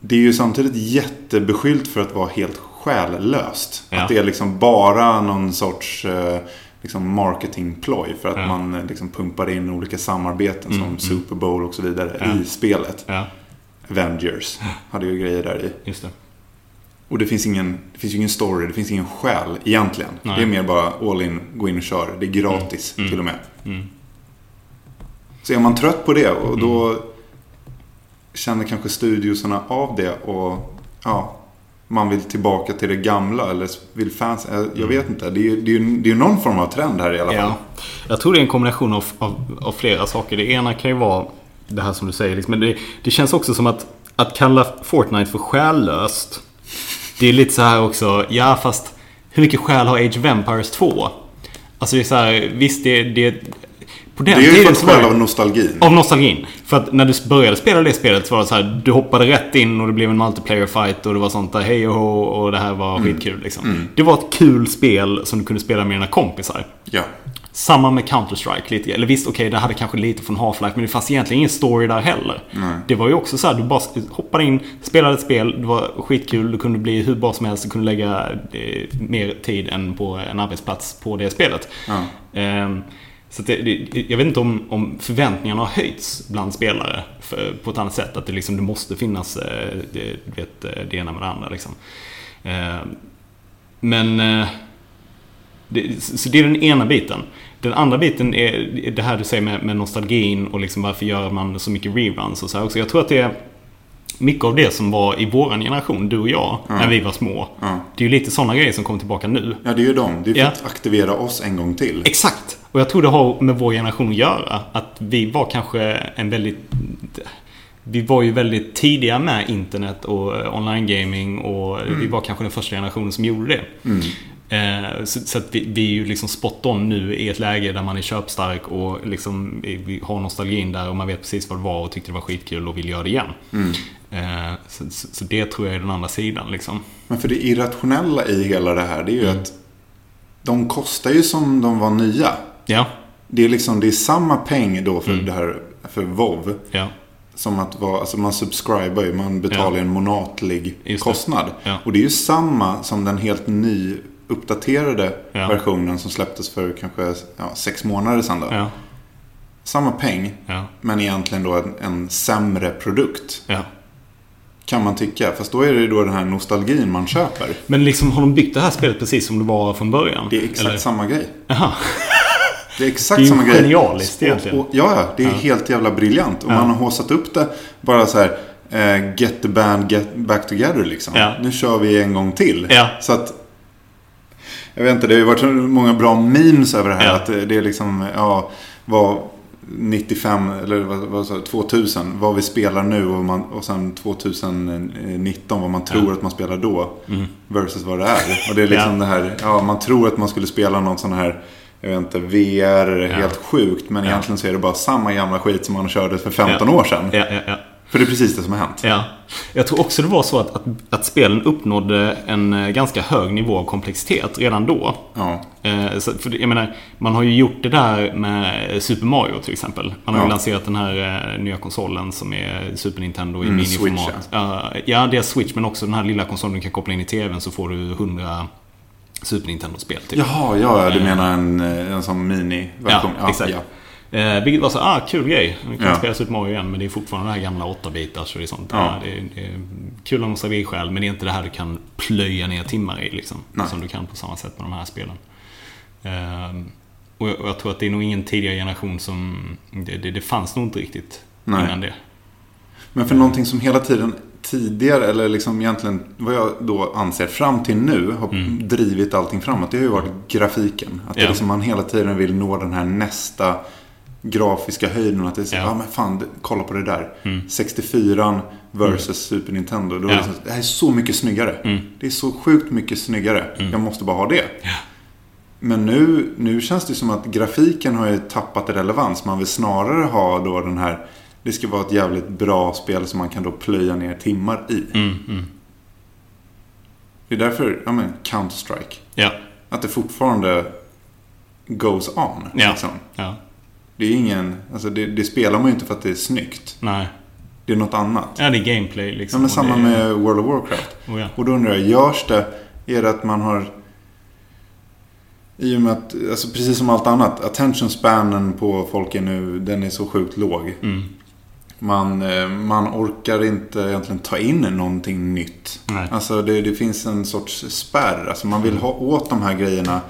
[SPEAKER 1] det är ju samtidigt jättebeskyllt för att vara helt själlöst.
[SPEAKER 2] Ja.
[SPEAKER 1] Att det är liksom bara någon sorts eh, liksom marketingploj för att
[SPEAKER 2] Ja.
[SPEAKER 1] man eh, liksom pumpar in olika samarbeten som
[SPEAKER 2] mm.
[SPEAKER 1] Super Bowl och så vidare
[SPEAKER 2] Ja.
[SPEAKER 1] i spelet.
[SPEAKER 2] Ja.
[SPEAKER 1] Avengers hade ju grejer där i.
[SPEAKER 2] Just det.
[SPEAKER 1] Och det finns, ingen, det finns ju ingen story, det finns ingen själ egentligen.
[SPEAKER 2] Nej.
[SPEAKER 1] Det är mer bara all in, gå in och kör. Det är gratis
[SPEAKER 2] Mm. Mm.
[SPEAKER 1] till och med.
[SPEAKER 2] Mm.
[SPEAKER 1] Så är man trött på det och då känner kanske studiosarna av det och ja, man vill tillbaka till det gamla eller vill fans, eh, jag vet inte. Det är ju det är, ju- det är ju någon form av trend här i alla fall.
[SPEAKER 2] Ja. Jag tror det är en kombination av, av, av flera saker. Det ena kan ju vara det här som du säger. Liksom, men det, det känns också som att, att kalla Fortnite för själlöst. Det är lite så här också, ja fast hur mycket själ har Age of Vampires 2? Alltså det är så här, visst det... det på
[SPEAKER 1] Det
[SPEAKER 2] den
[SPEAKER 1] är ju
[SPEAKER 2] tiden
[SPEAKER 1] fått
[SPEAKER 2] så var
[SPEAKER 1] själv
[SPEAKER 2] det-
[SPEAKER 1] av nostalgin.
[SPEAKER 2] av nostalgin. För att när du började spela det spelet så var det så här, du hoppade rätt in och det blev en multiplayer fight och det var sånt där hej och hå och det här var skitkul liksom. Det var ett kul spel som du kunde spela med dina kompisar.
[SPEAKER 1] Ja.
[SPEAKER 2] Samma med Counter-Strike lite. Eller visst, okej, det hade kanske lite från Half-Life, men det fanns egentligen ingen story där heller. Det var ju också så här, du bara hoppade in, spelade ett spel, det var skitkul, du kunde bli hur bra som helst, du kunde lägga eh, mer tid än på en arbetsplats på det spelet. Ehm, så att det, det, jag vet inte om, om förväntningarna har höjts bland spelare för, på ett annat sätt. Att det, liksom, det måste finnas eh, det, du vet, eh, det ena med det andra. Liksom. Ehm, men... eh, det, så så det är den ena biten. Den andra biten är det här du säger med, med nostalgin och liksom varför gör man så mycket reruns och så här också. Jag tror att det är mycket av det som var i våran generation, du och jag, när vi var små.
[SPEAKER 1] Ja.
[SPEAKER 2] Det är ju lite sådana grejer som kommer tillbaka nu.
[SPEAKER 1] ja, det är ju dem. Det är för
[SPEAKER 2] Ja.
[SPEAKER 1] att aktivera oss en gång till.
[SPEAKER 2] Exakt! Och jag tror det har med vår generation att göra. Att vi var kanske en väldigt... Vi var ju väldigt tidiga med internet och eh, online-gaming och vi var kanske den första generationen som gjorde det. Eh, Så, så att vi, vi är ju liksom spot on nu i ett läge där man är köpstark och liksom eh, vi har nostalgin där och man vet precis vad det var och tyckte det var skitkul och vill göra det igen. Eh, Så, så, så det tror jag är den andra sidan liksom.
[SPEAKER 1] Men för det irrationella i hela det här, det är ju att de kostar ju som de var nya.
[SPEAKER 2] Ja,
[SPEAKER 1] Det är liksom, det är samma peng då för det här, för WoW
[SPEAKER 2] ja,
[SPEAKER 1] Som att vara, alltså man subscriber ju, man betalar
[SPEAKER 2] Ja.
[SPEAKER 1] en månatlig
[SPEAKER 2] Just det.
[SPEAKER 1] kostnad.
[SPEAKER 2] Ja.
[SPEAKER 1] Och det är ju samma som den helt ny uppdaterade
[SPEAKER 2] Ja.
[SPEAKER 1] versionen som släpptes för kanske ja, sex månader sedan. Då.
[SPEAKER 2] ja,
[SPEAKER 1] Samma peng,
[SPEAKER 2] ja,
[SPEAKER 1] men egentligen då en, en sämre produkt.
[SPEAKER 2] ja.
[SPEAKER 1] Kan man tycka. Fast då är det ju då den här nostalgin man köper.
[SPEAKER 2] Men liksom har de byggt det här spelet precis som det var från början?
[SPEAKER 1] Det är exakt samma grej.
[SPEAKER 2] Jaha.
[SPEAKER 1] Det är exakt
[SPEAKER 2] Det är ju
[SPEAKER 1] samma grej.
[SPEAKER 2] genialiskt
[SPEAKER 1] Och-
[SPEAKER 2] egentligen.
[SPEAKER 1] Och, ja, ja, det är helt jävla briljant. Och man har haussat upp det bara så här. eh, Get the band get back together liksom.
[SPEAKER 2] Ja.
[SPEAKER 1] Nu kör vi en gång till.
[SPEAKER 2] Ja.
[SPEAKER 1] Så att... Jag vet inte, det har ju varit så många bra memes över det här.
[SPEAKER 2] Ja.
[SPEAKER 1] Att det det är liksom, ja, vad 95 eller vad, vad sa jag, 2000, vad vi spelar nu och, man, och sen 2019 vad man tror att man spelar då. Versus vad det är. Och det är liksom
[SPEAKER 2] Mm. Ja.
[SPEAKER 1] det här, ja man tror att man skulle spela någon sån här jag vet inte, VR, helt sjukt. Men egentligen så är det bara samma gamla skit som man körde för 15
[SPEAKER 2] Ja.
[SPEAKER 1] år sedan.
[SPEAKER 2] Ja, ja, ja.
[SPEAKER 1] För det är precis det som har hänt.
[SPEAKER 2] Ja. Jag tror också det var så att, att, att spelen uppnådde en eh, ganska hög nivå av komplexitet redan då.
[SPEAKER 1] Ja.
[SPEAKER 2] Eh, så, för det- jag menar, man har ju gjort det där med Super Mario till exempel. Man har ju
[SPEAKER 1] Ja.
[SPEAKER 2] lanserat den här eh, nya konsolen som är Super Nintendo i
[SPEAKER 1] Mm,
[SPEAKER 2] miniformat.
[SPEAKER 1] Switch,
[SPEAKER 2] Eh, ja, det är Switch men också den här lilla konsolen du kan koppla in i TVn så får du 100 Super Nintendo-spel. Typ.
[SPEAKER 1] Jaha, ja, ja, du menar en, eh, en sån mini-version.
[SPEAKER 2] Ja, exakt.
[SPEAKER 1] ja.
[SPEAKER 2] Eh, vilket var så ah kul grej. Nu kan
[SPEAKER 1] Ja.
[SPEAKER 2] spela Super Mario igen men det är fortfarande det här gamla 8-bitars och det är sånt.
[SPEAKER 1] Ja.
[SPEAKER 2] Ja. Det, är, det är kul av nostalgiskäl men det är inte det här du kan plöja ner timmar i liksom.
[SPEAKER 1] Nej.
[SPEAKER 2] Som du kan på samma sätt med de här spelen. Ehm, och, jag, och jag tror att det är nog ingen tidigare generation som... Det, det, det fanns nog inte riktigt
[SPEAKER 1] Nej.
[SPEAKER 2] innan det.
[SPEAKER 1] Men för någonting som hela tiden tidigare, eller liksom egentligen vad jag då anser fram till nu har drivit allting framåt. Det har ju varit grafiken. Att det
[SPEAKER 2] Mm. Ja.
[SPEAKER 1] liksom man hela tiden vill nå den här nästa grafiska höjden. Att det är så, ja
[SPEAKER 2] Ja. Mm.
[SPEAKER 1] ah, men fan, det- kolla på det där. 64 versus Super Nintendo. Då är
[SPEAKER 2] Ja.
[SPEAKER 1] det, liksom, det här är så mycket snyggare.
[SPEAKER 2] Mm,
[SPEAKER 1] Det är så sjukt mycket snyggare. Jag måste bara ha det. Men nu, nu känns det som att grafiken har ju tappat i relevans. Man vill snarare ha då den här... Det ska vara ett jävligt bra spel som man kan då plöja ner timmar i.
[SPEAKER 2] mm,
[SPEAKER 1] Det är därför, ja men, Counter-Strike.
[SPEAKER 2] Ja,
[SPEAKER 1] Att det fortfarande goes on.
[SPEAKER 2] Ja.
[SPEAKER 1] Liksom.
[SPEAKER 2] ja,
[SPEAKER 1] Det är ingen... Alltså det, det spelar man ju inte för att det är snyggt.
[SPEAKER 2] nej.
[SPEAKER 1] Det är något annat.
[SPEAKER 2] Ja, det är gameplay
[SPEAKER 1] Ja,
[SPEAKER 2] liksom.
[SPEAKER 1] men
[SPEAKER 2] och
[SPEAKER 1] samma
[SPEAKER 2] det,
[SPEAKER 1] med World of Warcraft.
[SPEAKER 2] Oh, ja.
[SPEAKER 1] Och då undrar jag, görs det, är det att man har i och med att, alltså precis som allt annat, attention spanen på folk är nu, den är så sjukt låg.
[SPEAKER 2] Mm.
[SPEAKER 1] Man, eh, man orkar inte egentligen ta in någonting nytt.
[SPEAKER 2] Nej.
[SPEAKER 1] Alltså det, det finns en sorts spärr. Alltså man vill ha åt de här grejerna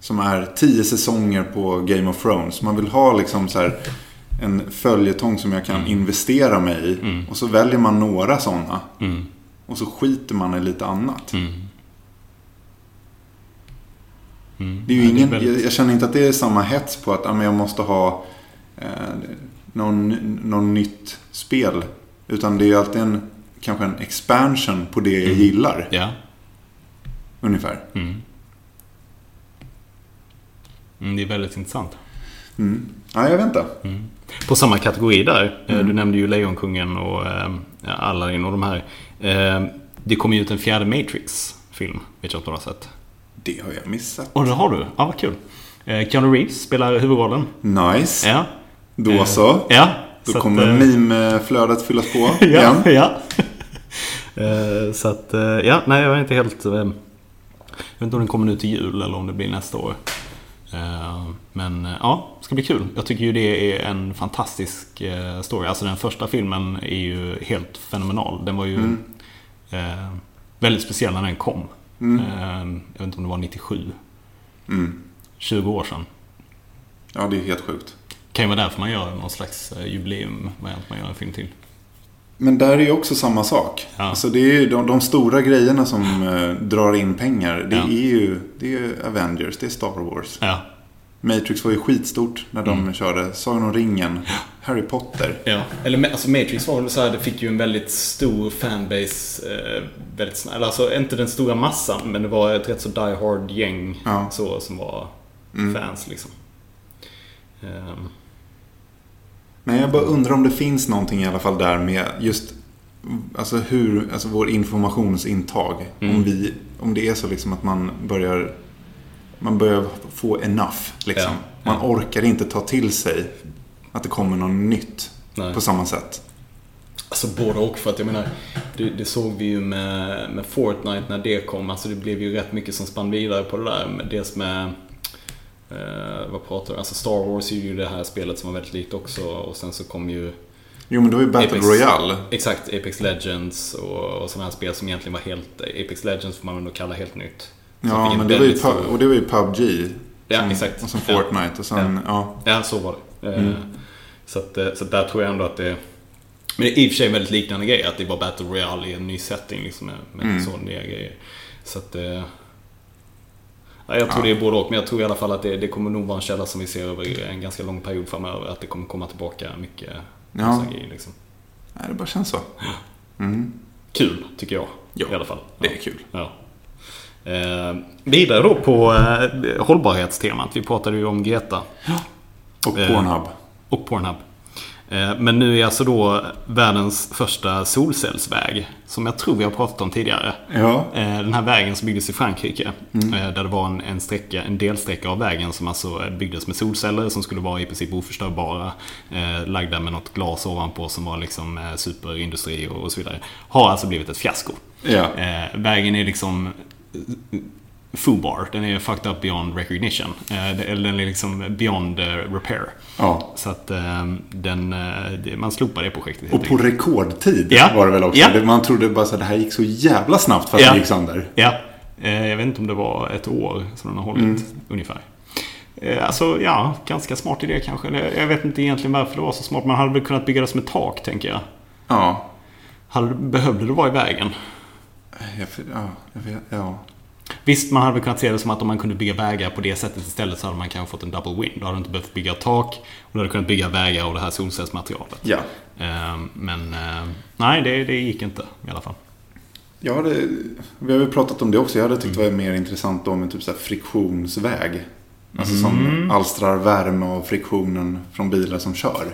[SPEAKER 1] som är tio säsonger på Game of Thrones. Man vill ha liksom så här en följetong som jag kan investera mig i. Och så väljer man några sådana.
[SPEAKER 2] Mm.
[SPEAKER 1] Och så skiter man i lite annat.
[SPEAKER 2] Mm.
[SPEAKER 1] Det är ju
[SPEAKER 2] Ja,
[SPEAKER 1] ingen,
[SPEAKER 2] väldigt-
[SPEAKER 1] jag, jag känner inte att det är samma hets på att ah, men jag måste ha eh, någon, någon nytt spel. Utan det är ju alltid en, kanske en expansion på det jag
[SPEAKER 2] Mm.
[SPEAKER 1] gillar.
[SPEAKER 2] Ja.
[SPEAKER 1] Ungefär.
[SPEAKER 2] Mm. Mm, det är väldigt intressant.
[SPEAKER 1] Mm. Ja, jag vet inte.
[SPEAKER 2] På samma kategori där.
[SPEAKER 1] Mm.
[SPEAKER 2] eh, Du nämnde ju Lejonkungen och eh, Aladdin och de här. Eh, Det kom ju ut en fjärde Matrix-film. Vet jag inte om du har sett.
[SPEAKER 1] Det har jag missat.
[SPEAKER 2] Och det har du? Ja, vad kul. Eh, Keanu Reeves spelar huvudrollen.
[SPEAKER 1] Nice.
[SPEAKER 2] Ja.
[SPEAKER 1] Då så.
[SPEAKER 2] Ja.
[SPEAKER 1] Då
[SPEAKER 2] så att,
[SPEAKER 1] kommer
[SPEAKER 2] eh,
[SPEAKER 1] meme-flödet fyllas på
[SPEAKER 2] *laughs*
[SPEAKER 1] igen.
[SPEAKER 2] Ja, ja. Eh, Så att, eh, ja, nej jag är inte helt... eh, Jag vet inte om den kommer nu till jul eller om det blir nästa år. Eh, Men eh, ja, det ska bli kul. Jag tycker ju det är en fantastisk eh, story. Alltså den första filmen är ju helt fenomenal. Den var ju eh, väldigt speciell när den kom. Eh, Jag vet inte om det var 97.
[SPEAKER 1] Mm.
[SPEAKER 2] 20 år sedan.
[SPEAKER 1] Ja, det är helt sjukt.
[SPEAKER 2] Kan ju vara därför man gör någon slags eh, jubileumvariant man gör en film till.
[SPEAKER 1] Men där är ju också samma sak.
[SPEAKER 2] Ja.
[SPEAKER 1] Alltså det är ju de, de stora grejerna som eh, drar in pengar. Det
[SPEAKER 2] Ja.
[SPEAKER 1] är ju det är ju Avengers, det är Star Wars.
[SPEAKER 2] Ja,
[SPEAKER 1] Matrix var ju skitstort när de
[SPEAKER 2] Mm.
[SPEAKER 1] körde Sagan om ringen, Harry Potter.
[SPEAKER 2] Ja, eller alltså Matrix var väl så här, det fick ju en väldigt stor fanbase eh, väldigt snabbt. Eller alltså inte den stora massan, men det var ett rätt så die hard gäng
[SPEAKER 1] Ja. mm.
[SPEAKER 2] så, som var fans liksom. Ehm,
[SPEAKER 1] Men jag bara undrar om det finns någonting i alla fall där med just alltså hur, alltså vår informationsintag.
[SPEAKER 2] Mm.
[SPEAKER 1] Om, vi, om det är så liksom att man börjar man börjar få enough. Liksom.
[SPEAKER 2] Ja,
[SPEAKER 1] Man orkar inte ta till sig att det kommer något nytt
[SPEAKER 2] Nej.
[SPEAKER 1] på samma sätt.
[SPEAKER 2] Alltså både och för att jag menar, det, det såg vi ju med, med Fortnite när det kom. Alltså det blev ju rätt mycket som spann vidare på det där. Men Dels med, eh, vad pratar du, alltså Star Wars är ju det här spelet som var väldigt likt också. Och sen så kom ju
[SPEAKER 1] Jo men det var ju Battle
[SPEAKER 2] Apex.
[SPEAKER 1] Royale.
[SPEAKER 2] Exakt, Apex Legends och, och sådana här spel som egentligen var helt... Apex Legends får man väl nog kalla helt nytt. Som fick
[SPEAKER 1] Ja,
[SPEAKER 2] en
[SPEAKER 1] men det var, ju,
[SPEAKER 2] väldigt
[SPEAKER 1] pub-
[SPEAKER 2] stor-
[SPEAKER 1] och det var ju PubG.
[SPEAKER 2] Ja,
[SPEAKER 1] sen,
[SPEAKER 2] exakt.
[SPEAKER 1] Och sen
[SPEAKER 2] Ja.
[SPEAKER 1] Fortnite och sen, ja.
[SPEAKER 2] Ja, så var det.
[SPEAKER 1] Mm.
[SPEAKER 2] Eh, Så, att, eh, så att där tror jag ändå att det... Men det är i och för sig en väldigt liknande grej, att det var Battle Royale i en ny setting liksom, med, med
[SPEAKER 1] Mm.
[SPEAKER 2] så nya grejer. Så att... eh, Ja, jag tror det är både och, men jag tror i alla fall att det, det kommer nog vara en källa som vi ser över en ganska lång period framöver. Att det kommer komma tillbaka mycket
[SPEAKER 1] Ja.
[SPEAKER 2] nostalgi. Liksom.
[SPEAKER 1] Nej, det bara känns så. Mm.
[SPEAKER 2] Kul, tycker jag.
[SPEAKER 1] Ja,
[SPEAKER 2] I alla fall. Ja.
[SPEAKER 1] Det är kul.
[SPEAKER 2] Ja. Eh, vidare då på eh, hållbarhetstemat. Vi pratade ju om Greta
[SPEAKER 1] Och
[SPEAKER 2] Eh.
[SPEAKER 1] Pornhub.
[SPEAKER 2] och Pornhub. Eh, men nu är alltså då världens första solcellsväg. Som jag tror vi har pratat om tidigare.
[SPEAKER 1] Ja.
[SPEAKER 2] Eh, Den här vägen som byggdes i Frankrike. eh, Där det var en, en, sträcka, en delsträcka av vägen som alltså eh, byggdes med solceller som skulle vara i princip oförstörbara. eh, Lagda med något glas ovanpå som var liksom eh, superindustri och, och så vidare. Har alltså blivit ett fiasko.
[SPEAKER 1] Ja.
[SPEAKER 2] Eh, vägen är liksom eh, FUBAR. Den är fucked up beyond recognition. Eh, det- eller den är liksom beyond eh, repair.
[SPEAKER 1] ja.
[SPEAKER 2] Så att eh, den, eh, det- man slopar det projektet helt
[SPEAKER 1] Och på
[SPEAKER 2] enkelt.
[SPEAKER 1] rekordtid
[SPEAKER 2] Ja.
[SPEAKER 1] var det väl också.
[SPEAKER 2] Ja.
[SPEAKER 1] Det- Man trodde bara att det här gick så jävla snabbt för att
[SPEAKER 2] Ja.
[SPEAKER 1] det gick sönder.
[SPEAKER 2] Ja. Eh, jag vet inte om det var ett år som den har hållit ungefär. Eh, Alltså ja, ganska smart idé kanske. Eller Jag vet inte egentligen varför det var så smart. Man hade väl kunnat bygga det som ett tak, tänker jag.
[SPEAKER 1] Ja.
[SPEAKER 2] Hade, behövde det vara i vägen?
[SPEAKER 1] Jag, för- ja, jag vet, ja.
[SPEAKER 2] Visst, man hade väl kunnat se det som att om man kunde bygga vägar på det sättet istället så hade man kanske fått en double win. Då hade du inte behövt bygga tak och du hade kunnat bygga vägar och det här solcellsmaterialet.
[SPEAKER 1] Ja.
[SPEAKER 2] Eh, Men eh, nej, det, det gick inte i alla fall.
[SPEAKER 1] Jag hade, vi har ju pratat om det också. Jag hade tyckt det var mer intressant om en typ så här friktionsväg. Alltså
[SPEAKER 2] Mm.
[SPEAKER 1] som alstrar värme av friktionen från bilar som kör.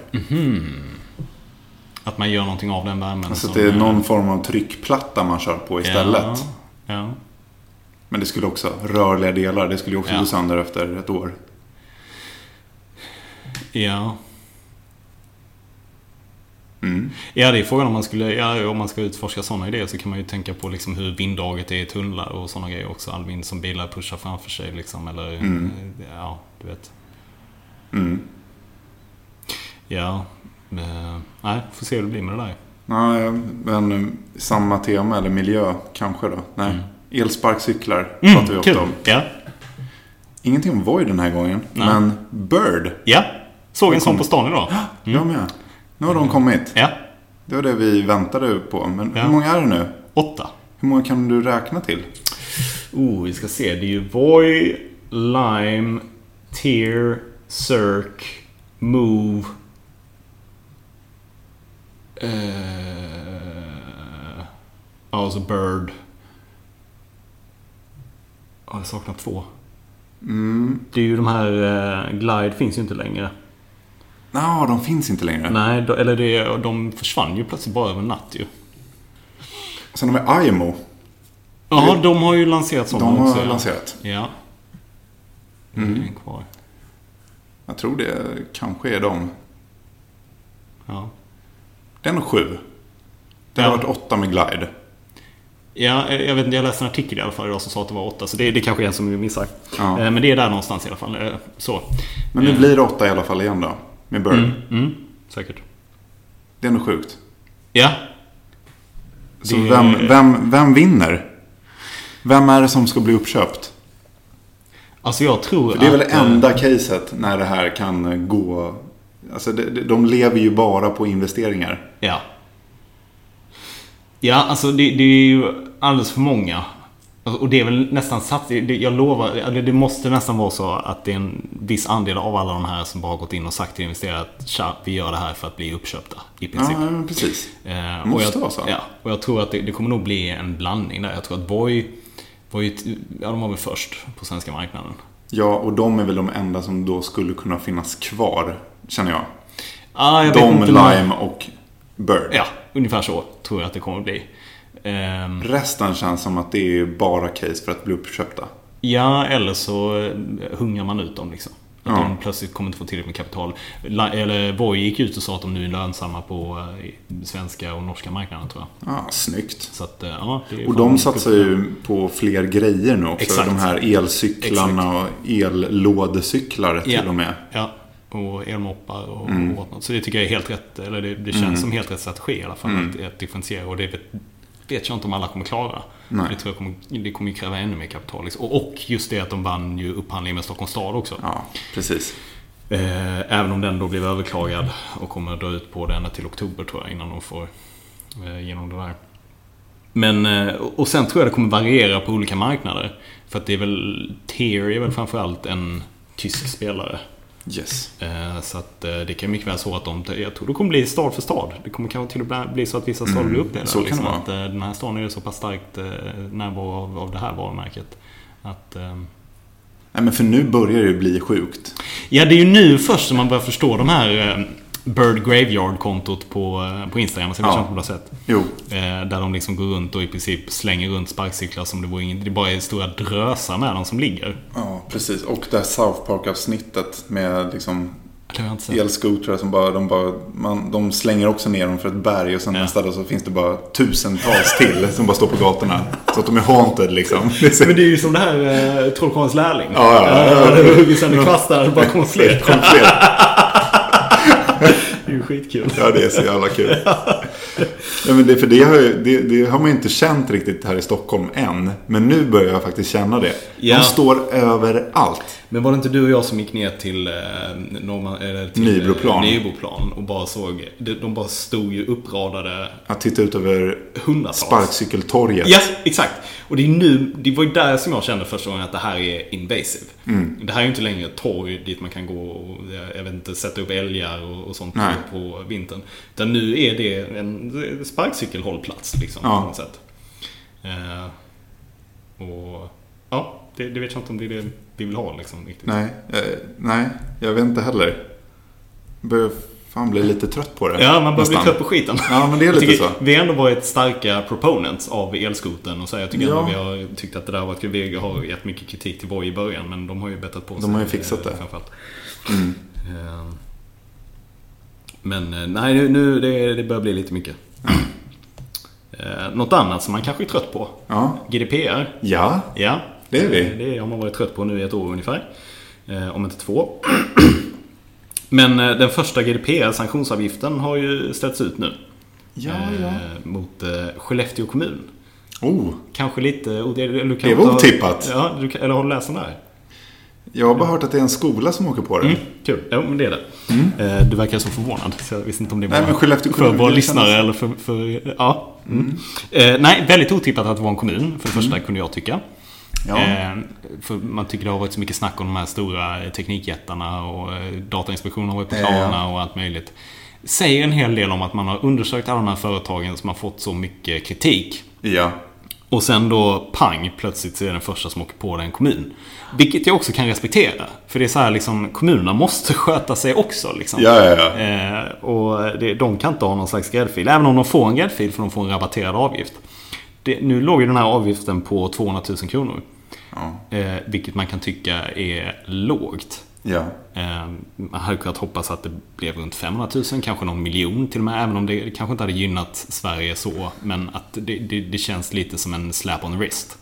[SPEAKER 2] Att man gör någonting av den värmen.
[SPEAKER 1] Mhm. Alltså att
[SPEAKER 2] som,
[SPEAKER 1] det är
[SPEAKER 2] eh,
[SPEAKER 1] någon form av tryckplatta man kör på istället.
[SPEAKER 2] Ja, ja.
[SPEAKER 1] Men det skulle också, rörliga delar, det skulle ju också
[SPEAKER 2] Ja.
[SPEAKER 1] gå sönder efter ett år.
[SPEAKER 2] ja.
[SPEAKER 1] Mm.
[SPEAKER 2] Ja, det är frågan om man skulle, ja, om man ska utforska sådana idéer så kan man ju tänka på liksom hur vinddraget är i tunnlar och sådana grejer också. All vind som bilar pushar framför sig liksom, eller
[SPEAKER 1] Mm.
[SPEAKER 2] ja, du vet.
[SPEAKER 1] Mm.
[SPEAKER 2] Ja, Eh, nej, får se hur det blir med det där.
[SPEAKER 1] Nej, men eh, samma tema eller miljö kanske då. Nej. Elsparkcyklar pratar vi
[SPEAKER 2] Mm,
[SPEAKER 1] ofta
[SPEAKER 2] kul!
[SPEAKER 1] om.
[SPEAKER 2] Ja,
[SPEAKER 1] Ingenting om Voi den här gången.
[SPEAKER 2] Nej.
[SPEAKER 1] Men Bird.
[SPEAKER 2] ja. Såg en
[SPEAKER 1] Välkommen.
[SPEAKER 2] sån på stan idag.
[SPEAKER 1] Jag med. Nu har de kommit.
[SPEAKER 2] Ja,
[SPEAKER 1] Det var det vi väntade på. Men
[SPEAKER 2] Ja.
[SPEAKER 1] hur många är det nu?
[SPEAKER 2] åtta.
[SPEAKER 1] Hur många kan du räkna till?
[SPEAKER 2] Oh, vi ska se. Det är ju Voi, Lime, Tear, Cirque, Move. Eh, Ja, och så Bird. Ja, jag saknar två.
[SPEAKER 1] Mm.
[SPEAKER 2] Det är ju de här... eh, Glide finns ju inte längre.
[SPEAKER 1] Nej, de finns inte längre.
[SPEAKER 2] Nej, då, eller det, de försvann ju plötsligt bara över en natt ju.
[SPEAKER 1] Sen har vi IMO.
[SPEAKER 2] Ja, de har ju lanserat sådana
[SPEAKER 1] De
[SPEAKER 2] också.
[SPEAKER 1] har
[SPEAKER 2] ja.
[SPEAKER 1] lanserat.
[SPEAKER 2] Ja. Mm. Det är en kvar.
[SPEAKER 1] Jag tror det kanske är de.
[SPEAKER 2] Ja.
[SPEAKER 1] Det är nog sju. Det har
[SPEAKER 2] Ja.
[SPEAKER 1] varit åtta med Glide.
[SPEAKER 2] Ja, eh, jag vet inte, jag läste en artikel i alla fall idag som sa att det var åtta. Så det, det kanske är en som vi missar.
[SPEAKER 1] Ja.
[SPEAKER 2] Eh, Men det är där någonstans i alla fall. eh, Så.
[SPEAKER 1] Men nu blir det åtta i alla fall igen då. Med Bird.
[SPEAKER 2] Mm, mm, säkert.
[SPEAKER 1] Det är nog sjukt.
[SPEAKER 2] Ja.
[SPEAKER 1] Så
[SPEAKER 2] Det-
[SPEAKER 1] vem, vem, vem vinner? Vem är det som ska bli uppköpt?
[SPEAKER 2] Alltså jag tror
[SPEAKER 1] Det är väl det
[SPEAKER 2] att... eh,
[SPEAKER 1] enda caset när det här kan gå... Alltså det- det- de lever ju bara på investeringar.
[SPEAKER 2] eh, Ja. Ja, alltså det, det är ju alldeles för många. Alltså, Och det är väl nästan satt, det, jag lovar, eller det måste nästan vara så att det är en viss andel av alla de här som bara har gått in och sagt till investerare att tja, vi gör det här för att bli uppköpta. I
[SPEAKER 1] Ja,
[SPEAKER 2] princip.
[SPEAKER 1] ja, men precis.
[SPEAKER 2] Eh, och
[SPEAKER 1] Måste
[SPEAKER 2] jag,
[SPEAKER 1] vara så.
[SPEAKER 2] Ja, och jag tror att det, det kommer nog bli en blandning där. Jag tror att Voi var ju, ett- ja de var väl först på svenska marknaden.
[SPEAKER 1] Ja, och de är väl de enda som då skulle kunna finnas kvar, känner jag.
[SPEAKER 2] Ah, jag
[SPEAKER 1] de,
[SPEAKER 2] vet inte, men-
[SPEAKER 1] Lime och Bird.
[SPEAKER 2] Ja, ungefär så tror jag att det kommer bli. Ehm,
[SPEAKER 1] Resten känns som att det är bara case för att bli uppköpta.
[SPEAKER 2] Ja, eller så eh, hungrar man ut dem liksom. Att
[SPEAKER 1] Ja.
[SPEAKER 2] de plötsligt kommer inte få tillräckligt med kapital. La- Eller Voi gick ut och sa att de nu är lönsamma på eh, svenska och norska marknaden tror jag.
[SPEAKER 1] Ja, snyggt.
[SPEAKER 2] Så att, eh, ja, det är
[SPEAKER 1] Och
[SPEAKER 2] fan
[SPEAKER 1] de
[SPEAKER 2] en
[SPEAKER 1] satsar
[SPEAKER 2] skuff.
[SPEAKER 1] ju på fler grejer nu också.
[SPEAKER 2] Exakt.
[SPEAKER 1] De här elcyklarna och ellådecyklar till
[SPEAKER 2] Ja.
[SPEAKER 1] och med. Mm.
[SPEAKER 2] Ja, och elmoppar och, och whatnot. Så det tycker jag är helt rätt. Eller det, det känns som helt rätt strategi i alla fall. Att, att differentiera. Och det vet, vet jag inte om alla kommer klara.
[SPEAKER 1] Mm. Nej.
[SPEAKER 2] Det, tror jag kommer, det kommer ju kräva ännu mer kapital. Liksom. Och, och just det att de vann ju upphandlingen med Stockholms stad också.
[SPEAKER 1] Ja, precis.
[SPEAKER 2] Eh, även om den då blev överklagad och kommer att dra ut på det ända till oktober tror jag innan de får eh, igenom det där. Men, eh, och och sen tror jag det kommer variera på olika marknader. För att det är väl, Tear är väl framförallt en tysk spelare.
[SPEAKER 1] Yes.
[SPEAKER 2] Eh, Så att eh, det kan mycket väl så att de, jag tror det kommer bli stad för stad. Det kommer kanske till och med bli så att vissa stader blir uppdelade.
[SPEAKER 1] Mm, så kan det vara.
[SPEAKER 2] att eh, den här staden är ju så pass starkt eh, närvaro av, av det här varumärket. Att, ehm,
[SPEAKER 1] Nej, men för nu börjar det ju bli sjukt.
[SPEAKER 2] Ja, det är ju nu först som man börjar förstå de här eh, Bird Graveyard-kontot på, eh, på Instagram som
[SPEAKER 1] Ja.
[SPEAKER 2] jag känner på något sätt.
[SPEAKER 1] Jo,
[SPEAKER 2] Eh, Där de liksom går runt och i princip slänger runt sparkcyklar som det vore inget. Det bara är stora drösar med dem som ligger.
[SPEAKER 1] ja precis. Och det här South Park-avsnittet med liksom
[SPEAKER 2] Det har jag inte sett.
[SPEAKER 1] elskotrar som bara, de bara, man, de slänger också ner dem för ett berg och sen
[SPEAKER 2] Ja.
[SPEAKER 1] nästa dag så finns det bara tusentals till som bara står på gatorna. Så att de är haunted liksom. *laughs* Det är så-
[SPEAKER 2] Men det är ju som det här eh, Trollkarlens lärling.
[SPEAKER 1] Ja, ja, ja.
[SPEAKER 2] Eh, Det hugger sönder kvastar och bara kommer fler.
[SPEAKER 1] Kom fler.
[SPEAKER 2] Det är ju skitkul.
[SPEAKER 1] Ja, det är så jävla kul. Nej, men det, för det har, ju, det, det har man ju inte känt riktigt här i Stockholm än. Men nu börjar jag faktiskt känna det.
[SPEAKER 2] Ja.
[SPEAKER 1] De står överallt.
[SPEAKER 2] Men var det inte du och jag som gick ner till, eh, Norrman, eller till eh,
[SPEAKER 1] Nybroplan.
[SPEAKER 2] Nybroplan och bara såg, de, de bara stod ju uppradade
[SPEAKER 1] Att titta ut över
[SPEAKER 2] hundratals.
[SPEAKER 1] sparkcykeltorget.
[SPEAKER 2] Ja, exakt. Och det är nu, det var ju där som jag kände första gången att det här är invasive.
[SPEAKER 1] Mm.
[SPEAKER 2] Det här är ju inte längre ett torg dit man kan gå och, eh, jag vet inte, sätta upp älgar och, och sånt
[SPEAKER 1] Nej.
[SPEAKER 2] på vintern. Utan nu är det en sparkcykelhållplats liksom
[SPEAKER 1] Ja.
[SPEAKER 2] på något sätt. Eh, och ja, det, det vet jag inte om det är det vi vill ha liksom riktigt.
[SPEAKER 1] Nej, eh, nej, jag vet inte heller. Börjar fan bli lite trött på det.
[SPEAKER 2] Ja, man börjar bli
[SPEAKER 1] nästan.
[SPEAKER 2] trött på skiten.
[SPEAKER 1] Ja, men det är
[SPEAKER 2] Jag
[SPEAKER 1] lite
[SPEAKER 2] tycker,
[SPEAKER 1] så.
[SPEAKER 2] Vi har ändå varit starka proponents av elskoten och så här, Jag tycker
[SPEAKER 1] Ja.
[SPEAKER 2] ändå vi har tyckt att det där var kul. Vi har gett mycket kritik till Voi i början men de har ju bättrat på sig.
[SPEAKER 1] har ju fixat
[SPEAKER 2] eh,
[SPEAKER 1] det. Mm.
[SPEAKER 2] Framförallt. Eh, Men eh, nej, nu- nu det, det börjar bli lite mycket. *clears throat* Eh, Något annat som man kanske är trött på.
[SPEAKER 1] Ja.
[SPEAKER 2] GDPR.
[SPEAKER 1] ja,
[SPEAKER 2] Ja,
[SPEAKER 1] Det är vi.
[SPEAKER 2] Eh, Det har man varit trött på nu i ett år ungefär. Eh, Om inte två. *clears throat* Men eh, den första GDPR-sanktionsavgiften har ju ställts ut nu.
[SPEAKER 1] Ja, ja.
[SPEAKER 2] Eh, mot eh, Skellefteå kommun.
[SPEAKER 1] Oh,
[SPEAKER 2] Kanske lite... ode- eller du kan
[SPEAKER 1] Det var
[SPEAKER 2] ta-
[SPEAKER 1] otippat.
[SPEAKER 2] Ja, du kan, eller har du läst den där?
[SPEAKER 1] jag har bara hört att det är en skola som åker på det.
[SPEAKER 2] Mm, kul. Jo, men det är det. Eh, Du verkar så förvånad. Så jag visste inte om det
[SPEAKER 1] Mm. Nej, men Skellefteå
[SPEAKER 2] för
[SPEAKER 1] kommun,
[SPEAKER 2] våra
[SPEAKER 1] det
[SPEAKER 2] lyssnare
[SPEAKER 1] kändes-
[SPEAKER 2] eller för... för ja. Mm. Eh, nej, väldigt otippat att det var en kommun. För det
[SPEAKER 1] Mm.
[SPEAKER 2] första kunde jag tycka.
[SPEAKER 1] Ja.
[SPEAKER 2] Eh, för man tycker det har varit så mycket snack om de här stora eh, teknikjättarna och eh, Datainspektionen har varit på
[SPEAKER 1] Ja, ja.
[SPEAKER 2] planerna och allt möjligt. Säger en hel del om att man har undersökt alla de här företagen som har fått så mycket kritik.
[SPEAKER 1] Ja.
[SPEAKER 2] Och sen då pang, plötsligt så är den första som åker på den kommun. Vilket jag också kan respektera. För det är så här liksom, kommunerna måste sköta sig också. Liksom.
[SPEAKER 1] Ja, ja, ja.
[SPEAKER 2] Eh, och det, de kan inte ha någon slags gräddfil. Även om de får en gräddfil för de får en rabatterad avgift. Det, nu låg ju den här avgiften på 200 000 kronor.
[SPEAKER 1] Ja.
[SPEAKER 2] Eh, vilket man kan tycka är lågt.
[SPEAKER 1] ja.
[SPEAKER 2] Eh, man hade kunnat hoppas att det blev runt 500 000, kanske någon miljon till och med. Även om det kanske inte hade gynnat Sverige så. Men att det, det, det känns lite som en slap on the wrist.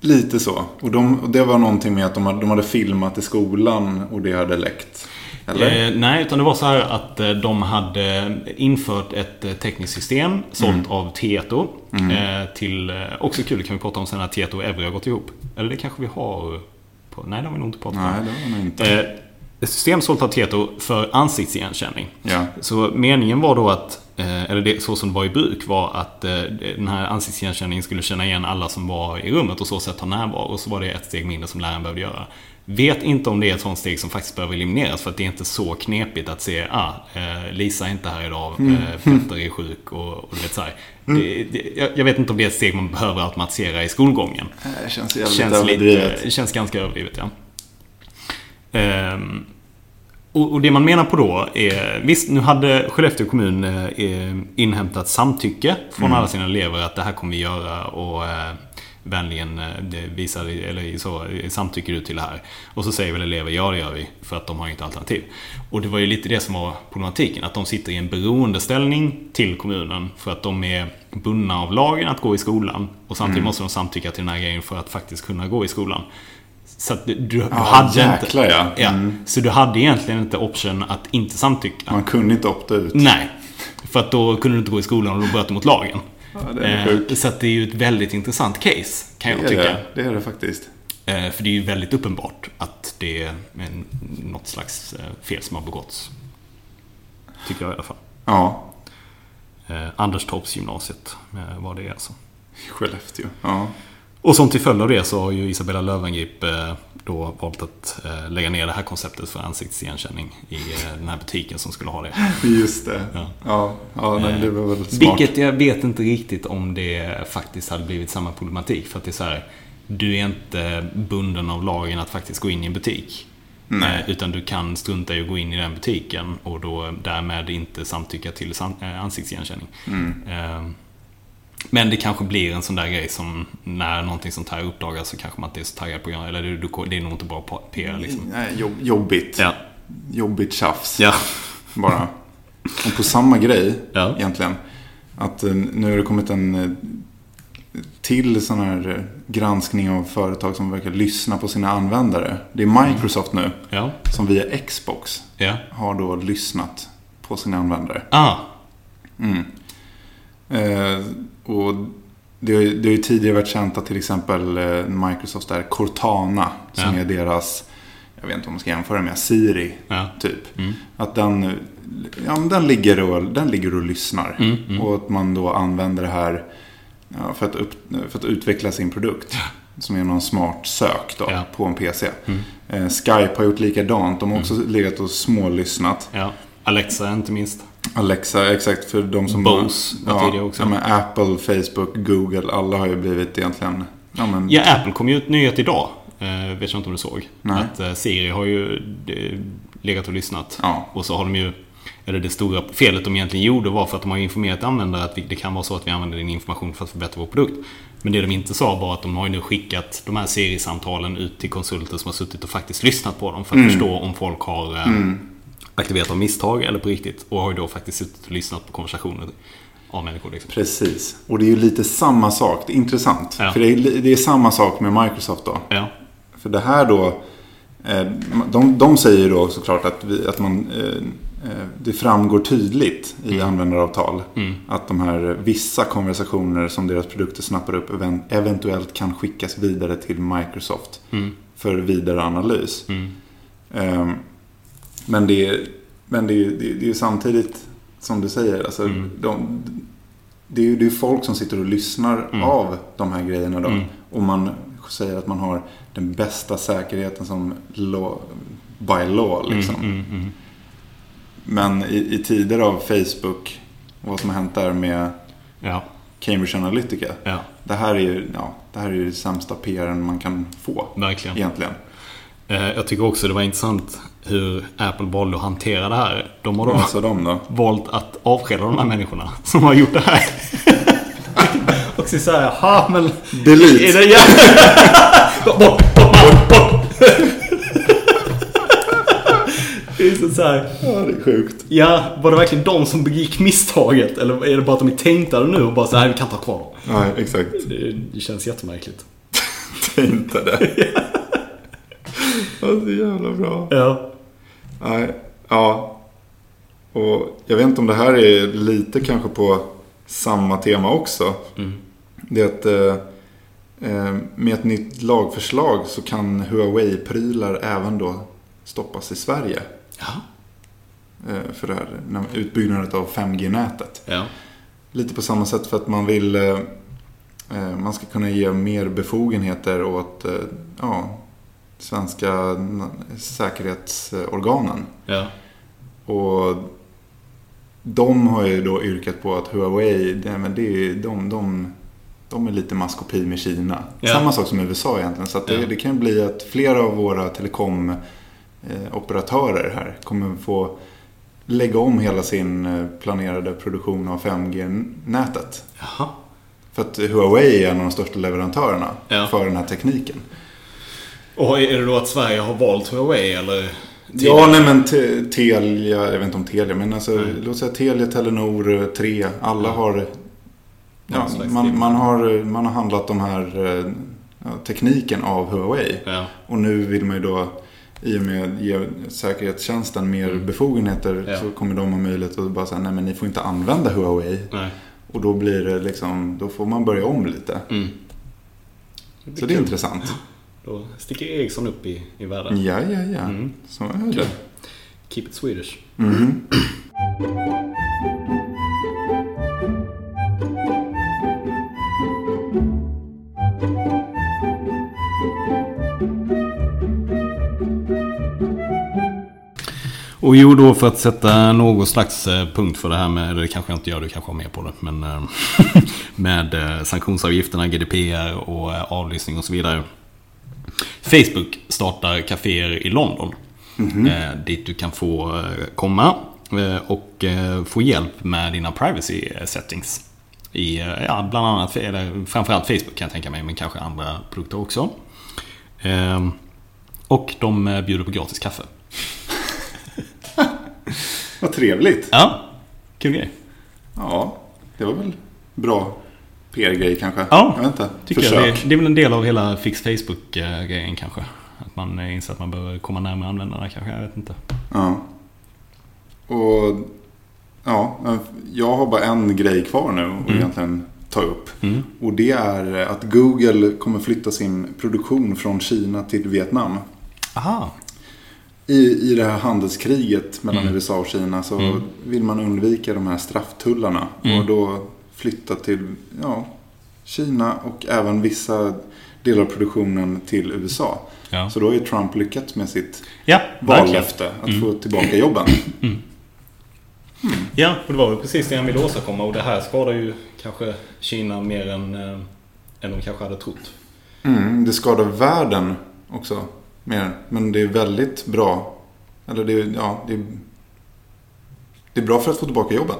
[SPEAKER 1] Lite så. Och, de, och det var någonting med att de hade, de hade filmat i skolan och det hade läckt. Eller?
[SPEAKER 2] Eh, nej, utan det var så här att eh, de hade infört ett eh, tekniskt system sålt av Tieto. Eh, till, eh, också kul, det kan vi prata om sen när Tieto och Evry har gått ihop. Eller det kanske vi har? På, nej, det har vi nog inte pratat om.
[SPEAKER 1] Nej, det var nog inte.
[SPEAKER 2] Eh, ett system sålt av Tieto för ansiktsigenkänning.
[SPEAKER 1] Ja.
[SPEAKER 2] Så meningen var då att, eh, eller det, så som det var i bruk, var att eh, den här ansiktsigenkänningen skulle känna igen alla som var i rummet och så sätt ha närvaro. Och så var det ett steg mindre som läraren behövde göra. Vet inte om det är ett sånt steg som faktiskt behöver elimineras för att det är inte så knepigt att se ah, eh, Lisa är inte här idag, eh, Petter är sjuk och, och du vet så här. Det, det, jag, jag vet inte om det är ett steg man behöver automatisera i skolgången.
[SPEAKER 1] Det känns jävligt
[SPEAKER 2] Känns,
[SPEAKER 1] överdrivet.
[SPEAKER 2] lite, känns ganska överdrivet, ja. Ehm, och, och det man menar på då är... Visst, nu hade Skellefteå kommun eh, eh, inhämtat samtycke från
[SPEAKER 1] Mm.
[SPEAKER 2] alla sina elever att det här kommer vi göra och eh, vänligen eh, det visar, eller så, eh, samtycker du till det här? Och så säger väl elever, ja det gör vi, för att de har inte alternativ. Och det var ju lite det som var problematiken, att de sitter i en beroendeställning till kommunen för att de är bundna av lagen att gå i skolan. Och samtidigt
[SPEAKER 1] Mm.
[SPEAKER 2] måste de samtycka till den här grejen för att faktiskt kunna gå i skolan. Så att du, du
[SPEAKER 1] Ja,
[SPEAKER 2] hade inte...
[SPEAKER 1] jäklar ja.
[SPEAKER 2] Ja, så du hade egentligen inte option att inte samtycka.
[SPEAKER 1] Man kunde inte opta ut.
[SPEAKER 2] Nej, för att då kunde du inte gå i skolan och då bröt du mot lagen.
[SPEAKER 1] Ja, det är sjukt.
[SPEAKER 2] Eh, så att det är ju ett väldigt intressant case, kan jag
[SPEAKER 1] det, är
[SPEAKER 2] tycka.
[SPEAKER 1] det. det är det faktiskt.
[SPEAKER 2] Eh, för det är ju väldigt uppenbart att det är en, något slags eh, fel som har begåtts. Tycker jag i alla fall.
[SPEAKER 1] Ja,
[SPEAKER 2] Eh, Anderstorps gymnasiet eh, var det alltså.
[SPEAKER 1] Skellefteå. Ja.
[SPEAKER 2] Och som till följd av det så har ju Isabella Löwengrip eh, då valt att eh, lägga ner det här konceptet för ansiktsigenkänning i eh, den här butiken som skulle ha det.
[SPEAKER 1] Just det. Ja, ja, nej, det var väl smart.
[SPEAKER 2] Eh, Vilket jag vet inte riktigt om det faktiskt hade blivit samma problematik. För att det är så här, du är inte bunden av lagen att faktiskt gå in i en butik.
[SPEAKER 1] Nej.
[SPEAKER 2] Eh, Utan du kan strunta i att gå in i den butiken och då därmed inte samtycka till sam- eh, ansiktsigenkänning.
[SPEAKER 1] Mm.
[SPEAKER 2] Eh, Men det kanske blir en sån där grej som när någonting sånt här uppdagas så kanske man inte är så taggad på att göra eller du, du, det är nog inte bra PR liksom.
[SPEAKER 1] Nej, jobb, jobbigt.
[SPEAKER 2] Ja.
[SPEAKER 1] Jobbigt tjafs.
[SPEAKER 2] Ja.
[SPEAKER 1] Bara. Och på samma grej
[SPEAKER 2] Ja.
[SPEAKER 1] egentligen. Att eh, nu har det kommit en eh, till sån här eh, granskning av företag som verkar lyssna på sina användare. Det
[SPEAKER 2] Mm.
[SPEAKER 1] är Microsoft nu
[SPEAKER 2] Ja.
[SPEAKER 1] som via Xbox
[SPEAKER 2] Ja.
[SPEAKER 1] har då lyssnat på sina användare. Mm.
[SPEAKER 2] Ah.
[SPEAKER 1] Eh, och det, har ju- det har ju tidigare varit känt att till exempel eh, Microsofts där Cortana, som
[SPEAKER 2] Ja.
[SPEAKER 1] är deras, jag vet inte om man ska jämföra med, Siri,
[SPEAKER 2] Ja.
[SPEAKER 1] typ.
[SPEAKER 2] Mm.
[SPEAKER 1] Att den, eh, ja, men den, ligger och, den ligger och lyssnar.
[SPEAKER 2] Mm, mm.
[SPEAKER 1] Och att man då använder det här ja, för, att upp, för att utveckla sin produkt. Som är någon smart sök då,
[SPEAKER 2] Ja. Mm.
[SPEAKER 1] på en PC. Eh, Skype har gjort likadant. De har också legat och smålyssnat.
[SPEAKER 2] Ja. Alexa inte minst.
[SPEAKER 1] Alexa, exakt. För de som...
[SPEAKER 2] Bose var
[SPEAKER 1] ja,
[SPEAKER 2] tidigare också.
[SPEAKER 1] Ja, men Apple, Facebook, Google. Alla har ju blivit egentligen... Ja, men,
[SPEAKER 2] Ja, Apple kom ju ut nyhet idag. Eh, vet jag inte om du såg.
[SPEAKER 1] Nej.
[SPEAKER 2] Att eh, Siri har ju eh, legat och lyssnat.
[SPEAKER 1] Ja.
[SPEAKER 2] Och så har de ju... Eller det stora felet de egentligen gjorde var för att de har informerat användare att vi, det kan vara så att vi använder din information för att förbättra vår produkt. Men det de inte sa var att de har ju nu skickat de här Siri-samtalen ut till konsulter som har suttit och faktiskt lyssnat på dem för att
[SPEAKER 1] Mm.
[SPEAKER 2] förstå om folk har eh, aktiverat av misstag eller på riktigt. Och har ju då faktiskt suttit och lyssnat på konversationer av människor. Liksom.
[SPEAKER 1] Precis. Och det är ju lite samma sak. Det är intressant.
[SPEAKER 2] Ja.
[SPEAKER 1] För det är, li- det är samma sak med Microsoft då.
[SPEAKER 2] Ja.
[SPEAKER 1] För det här då... Eh, De, de säger ju då såklart att, vi, att man, eh, eh, det framgår tydligt i användaravtal
[SPEAKER 2] Mm.
[SPEAKER 1] att de här vissa konversationer som deras produkter snappar upp even- eventuellt kan skickas vidare till Microsoft
[SPEAKER 2] Mm.
[SPEAKER 1] för vidare analys. Eh, Men det är men det är ju det, är- det är ju samtidigt som du säger, alltså, de, det är ju det är ju folk som sitter och lyssnar av de här grejerna då. Och man säger att man har den bästa säkerheten som law, by law liksom. Men i, i tider av Facebook och vad som har hänt där med
[SPEAKER 2] Ja,
[SPEAKER 1] Cambridge Analytica.
[SPEAKER 2] ja,
[SPEAKER 1] Det här är ju, ja, det här är ju det sämsta PRn man kan få
[SPEAKER 2] verkligen.
[SPEAKER 1] egentligen.
[SPEAKER 2] Eh, Jag tycker också det var intressant hur Apple valde att hantera det här. De har då
[SPEAKER 1] Alltså de då.
[SPEAKER 2] valt att avskeda de här människorna som har gjort det här. *laughs* Och så säger ha men...
[SPEAKER 1] Delete.
[SPEAKER 2] Är det, ja. bort, bort, bort, bort. *laughs* Det är så så här.
[SPEAKER 1] Ja, det är sjukt.
[SPEAKER 2] Ja, var det verkligen de som begick misstaget? Eller är det bara att de är tänkta nu och bara så här, vi kan inte ha kvar dem.
[SPEAKER 1] Nej, exakt. *laughs*
[SPEAKER 2] Det, det känns jättemärkligt.
[SPEAKER 1] Inte det. Alltså jävla bra.
[SPEAKER 2] Ja.
[SPEAKER 1] Nej, ja. Och jag vet inte om det här är lite kanske på samma tema också.
[SPEAKER 2] Mm.
[SPEAKER 1] Det är att eh, eh, med ett nytt lagförslag så kan Huawei-prylar även då stoppas i Sverige.
[SPEAKER 2] Ja.
[SPEAKER 1] eh, För det här när- utbyggnaden av 5G-nätet.
[SPEAKER 2] Ja.
[SPEAKER 1] Lite på samma sätt för att man vill eh, eh, man ska kunna ge mer befogenheter åt eh, ja, svenska na- säkerhetsorganen.
[SPEAKER 2] Ja.
[SPEAKER 1] Och de har ju då yrkat på att Huawei, det, men det är, ju- de, de, de är lite maskopi med Kina.
[SPEAKER 2] Ja.
[SPEAKER 1] Samma sak som USA egentligen. Så att det,
[SPEAKER 2] Ja.
[SPEAKER 1] det kan bli att flera av våra telekomoperatörer här kommer få lägga om hela sin eh, planerade produktion av 5G-nätet.
[SPEAKER 2] Jaha.
[SPEAKER 1] För att Huawei är en av de största leverantörerna
[SPEAKER 2] Ja.
[SPEAKER 1] för den här tekniken.
[SPEAKER 2] Och är det då att Sverige har valt Huawei eller?
[SPEAKER 1] Ja, nej men te- Telia, jag vet inte om Telia, men alltså låt säga Telia, Telenor, eh, Tre, alla har... Ja,
[SPEAKER 2] Någon slags
[SPEAKER 1] man,
[SPEAKER 2] deal.
[SPEAKER 1] man, har eh, man har handlat de här eh, ja, tekniken av Huawei.
[SPEAKER 2] Ja.
[SPEAKER 1] Och nu vill man ju då, i och med att ge säkerhetstjänsten mer befogenheter,
[SPEAKER 2] Mm. Ja.
[SPEAKER 1] så kommer de ha möjlighet att bara säga nej men ni får inte använda Huawei.
[SPEAKER 2] Nej.
[SPEAKER 1] Och då blir det liksom, då får man börja om lite.
[SPEAKER 2] Mm.
[SPEAKER 1] Så det är intressant.
[SPEAKER 2] Då sticker Ericsson upp i, i världen.
[SPEAKER 1] Ja, ja, ja.
[SPEAKER 2] Mm.
[SPEAKER 1] Så är det.
[SPEAKER 2] Keep it Swedish.
[SPEAKER 1] Mhm.
[SPEAKER 2] Och jo, då för att sätta någon slags eh, punkt för det här med, eller det kanske jag inte gör, du kanske har med på det, men eh, *laughs* med eh, sanktionsavgifterna, GDPR och eh, avlyssning och så vidare. Facebook startar kaféer i London. eh, Dit du kan få eh, komma eh, och eh, få hjälp med dina privacy settings. I, eh, ja, bland annat, eller framförallt Facebook kan jag tänka mig, men kanske andra produkter också. Eh, Och de eh, bjuder på gratis kaffe.
[SPEAKER 1] Vad trevligt.
[SPEAKER 2] Ja, kul grej.
[SPEAKER 1] Ja, det var väl bra PR-grej kanske.
[SPEAKER 2] Ja,
[SPEAKER 1] jag vet inte.
[SPEAKER 2] Tycker jag.
[SPEAKER 1] Försök.
[SPEAKER 2] Det, det är väl en del av hela Fix Facebook-grejen kanske. Att man eh, inser att man behöver komma närmare användarna kanske. Jag vet inte.
[SPEAKER 1] Ja. Och ja, jag har bara en grej kvar nu att egentligen ta upp.
[SPEAKER 2] Mm.
[SPEAKER 1] Och det är att Google kommer flytta sin produktion från Kina till Vietnam.
[SPEAKER 2] Aha.
[SPEAKER 1] I, i det här handelskriget mellan
[SPEAKER 2] Mm.
[SPEAKER 1] USA och Kina så
[SPEAKER 2] Mm.
[SPEAKER 1] vill man undvika de här strafftullarna.
[SPEAKER 2] Mm.
[SPEAKER 1] Och då flytta till ja, Kina och även vissa delar av produktionen till USA.
[SPEAKER 2] Ja,
[SPEAKER 1] Så då har ju Trump lyckats med sitt
[SPEAKER 2] ja verkligen. Mm.
[SPEAKER 1] vallöfte att få tillbaka jobben.
[SPEAKER 2] Ja, och det var väl precis det han ville åstadkomma. Och det här skadar ju kanske Kina mer än, eh, än de kanske hade trott.
[SPEAKER 1] Mm, det skadar världen också mer. Men det är väldigt bra. Eller det är, ja, det är, det är bra för att få tillbaka jobben.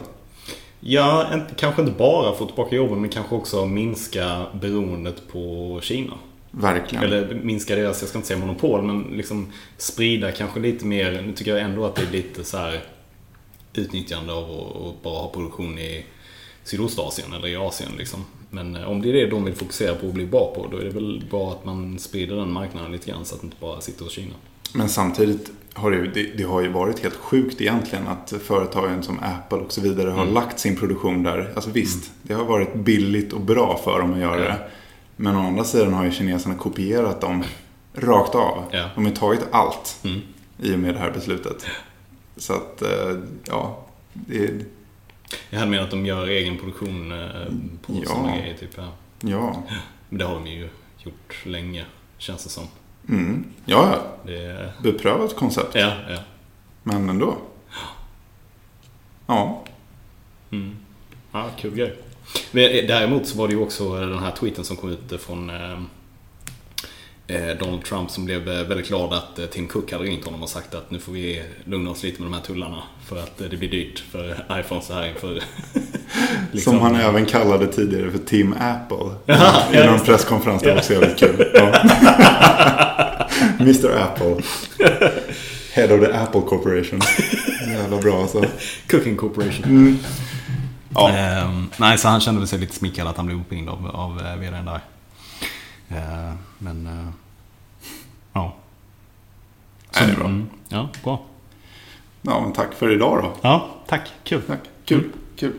[SPEAKER 2] Ja, inte, kanske inte bara få tillbaka jobben men kanske också minska beroendet på Kina.
[SPEAKER 1] Verkligen.
[SPEAKER 2] Eller minska deras, jag ska inte säga monopol, men liksom sprida kanske lite mer. Nu tycker jag ändå att det är lite så här utnyttjande av att att bara ha produktion i Sydostasien eller i Asien liksom. Men eh, om det är det de vill fokusera på och bli bra på, då är det väl bra att man sprider den marknaden lite grann så att det inte bara sitter hos Kina.
[SPEAKER 1] Men samtidigt har det, ju- det, det har ju varit helt sjukt egentligen att företagen som Apple och så vidare har
[SPEAKER 2] Mm.
[SPEAKER 1] lagt sin produktion där. Alltså visst, det har varit billigt och bra för dem att göra
[SPEAKER 2] Ja.
[SPEAKER 1] det. Men å andra sidan har ju kineserna kopierat dem rakt av.
[SPEAKER 2] Ja.
[SPEAKER 1] De har ju tagit allt
[SPEAKER 2] Mm.
[SPEAKER 1] i och med det här beslutet. Så att, eh, ja. Det,
[SPEAKER 2] Jag hade menat att de gör egen produktion eh, på
[SPEAKER 1] Ja.
[SPEAKER 2] sådana grejer. Typ, ja.
[SPEAKER 1] ja.
[SPEAKER 2] Men det har de ju gjort länge, känns det som.
[SPEAKER 1] Mm. Ja, ja.
[SPEAKER 2] Det, är-
[SPEAKER 1] Beprövat koncept.
[SPEAKER 2] ja, ja.
[SPEAKER 1] Men ändå. Ja.
[SPEAKER 2] Mm. Ja, kul grej. Men eh, däremot så var det ju också eh, den här tweeten som kom ut eh, från eh, eh, Donald Trump som blev eh, väldigt glad att eh, Tim Cook hade ringt honom och sagt att nu får vi lugna oss lite med de här tullarna för att eh, det blir dyrt för iPhone så här inför... *laughs* Liksom,
[SPEAKER 1] Som han även kallade tidigare för Tim *laughs* Apple.
[SPEAKER 2] Ja,
[SPEAKER 1] I
[SPEAKER 2] ja,
[SPEAKER 1] någon
[SPEAKER 2] just
[SPEAKER 1] presskonferens. Det var också jävligt kul. Ja. *laughs* Mr *laughs* Apple. Head of the Apple *laughs* Corporation. Jävla bra alltså.
[SPEAKER 2] Cooking Corporation.
[SPEAKER 1] Mm. Ja.
[SPEAKER 2] Ehm, nej, så han kände väl sig lite smickrad att han blev uppringd av, av eh, vdn där. Ehm, men... eh, ja.
[SPEAKER 1] Nej, det är bra.
[SPEAKER 2] Mm, ja, bra.
[SPEAKER 1] eh, Ja, men tack för idag då.
[SPEAKER 2] Ja, tack. Kul.
[SPEAKER 1] Mm. Tack. Kul. Kul.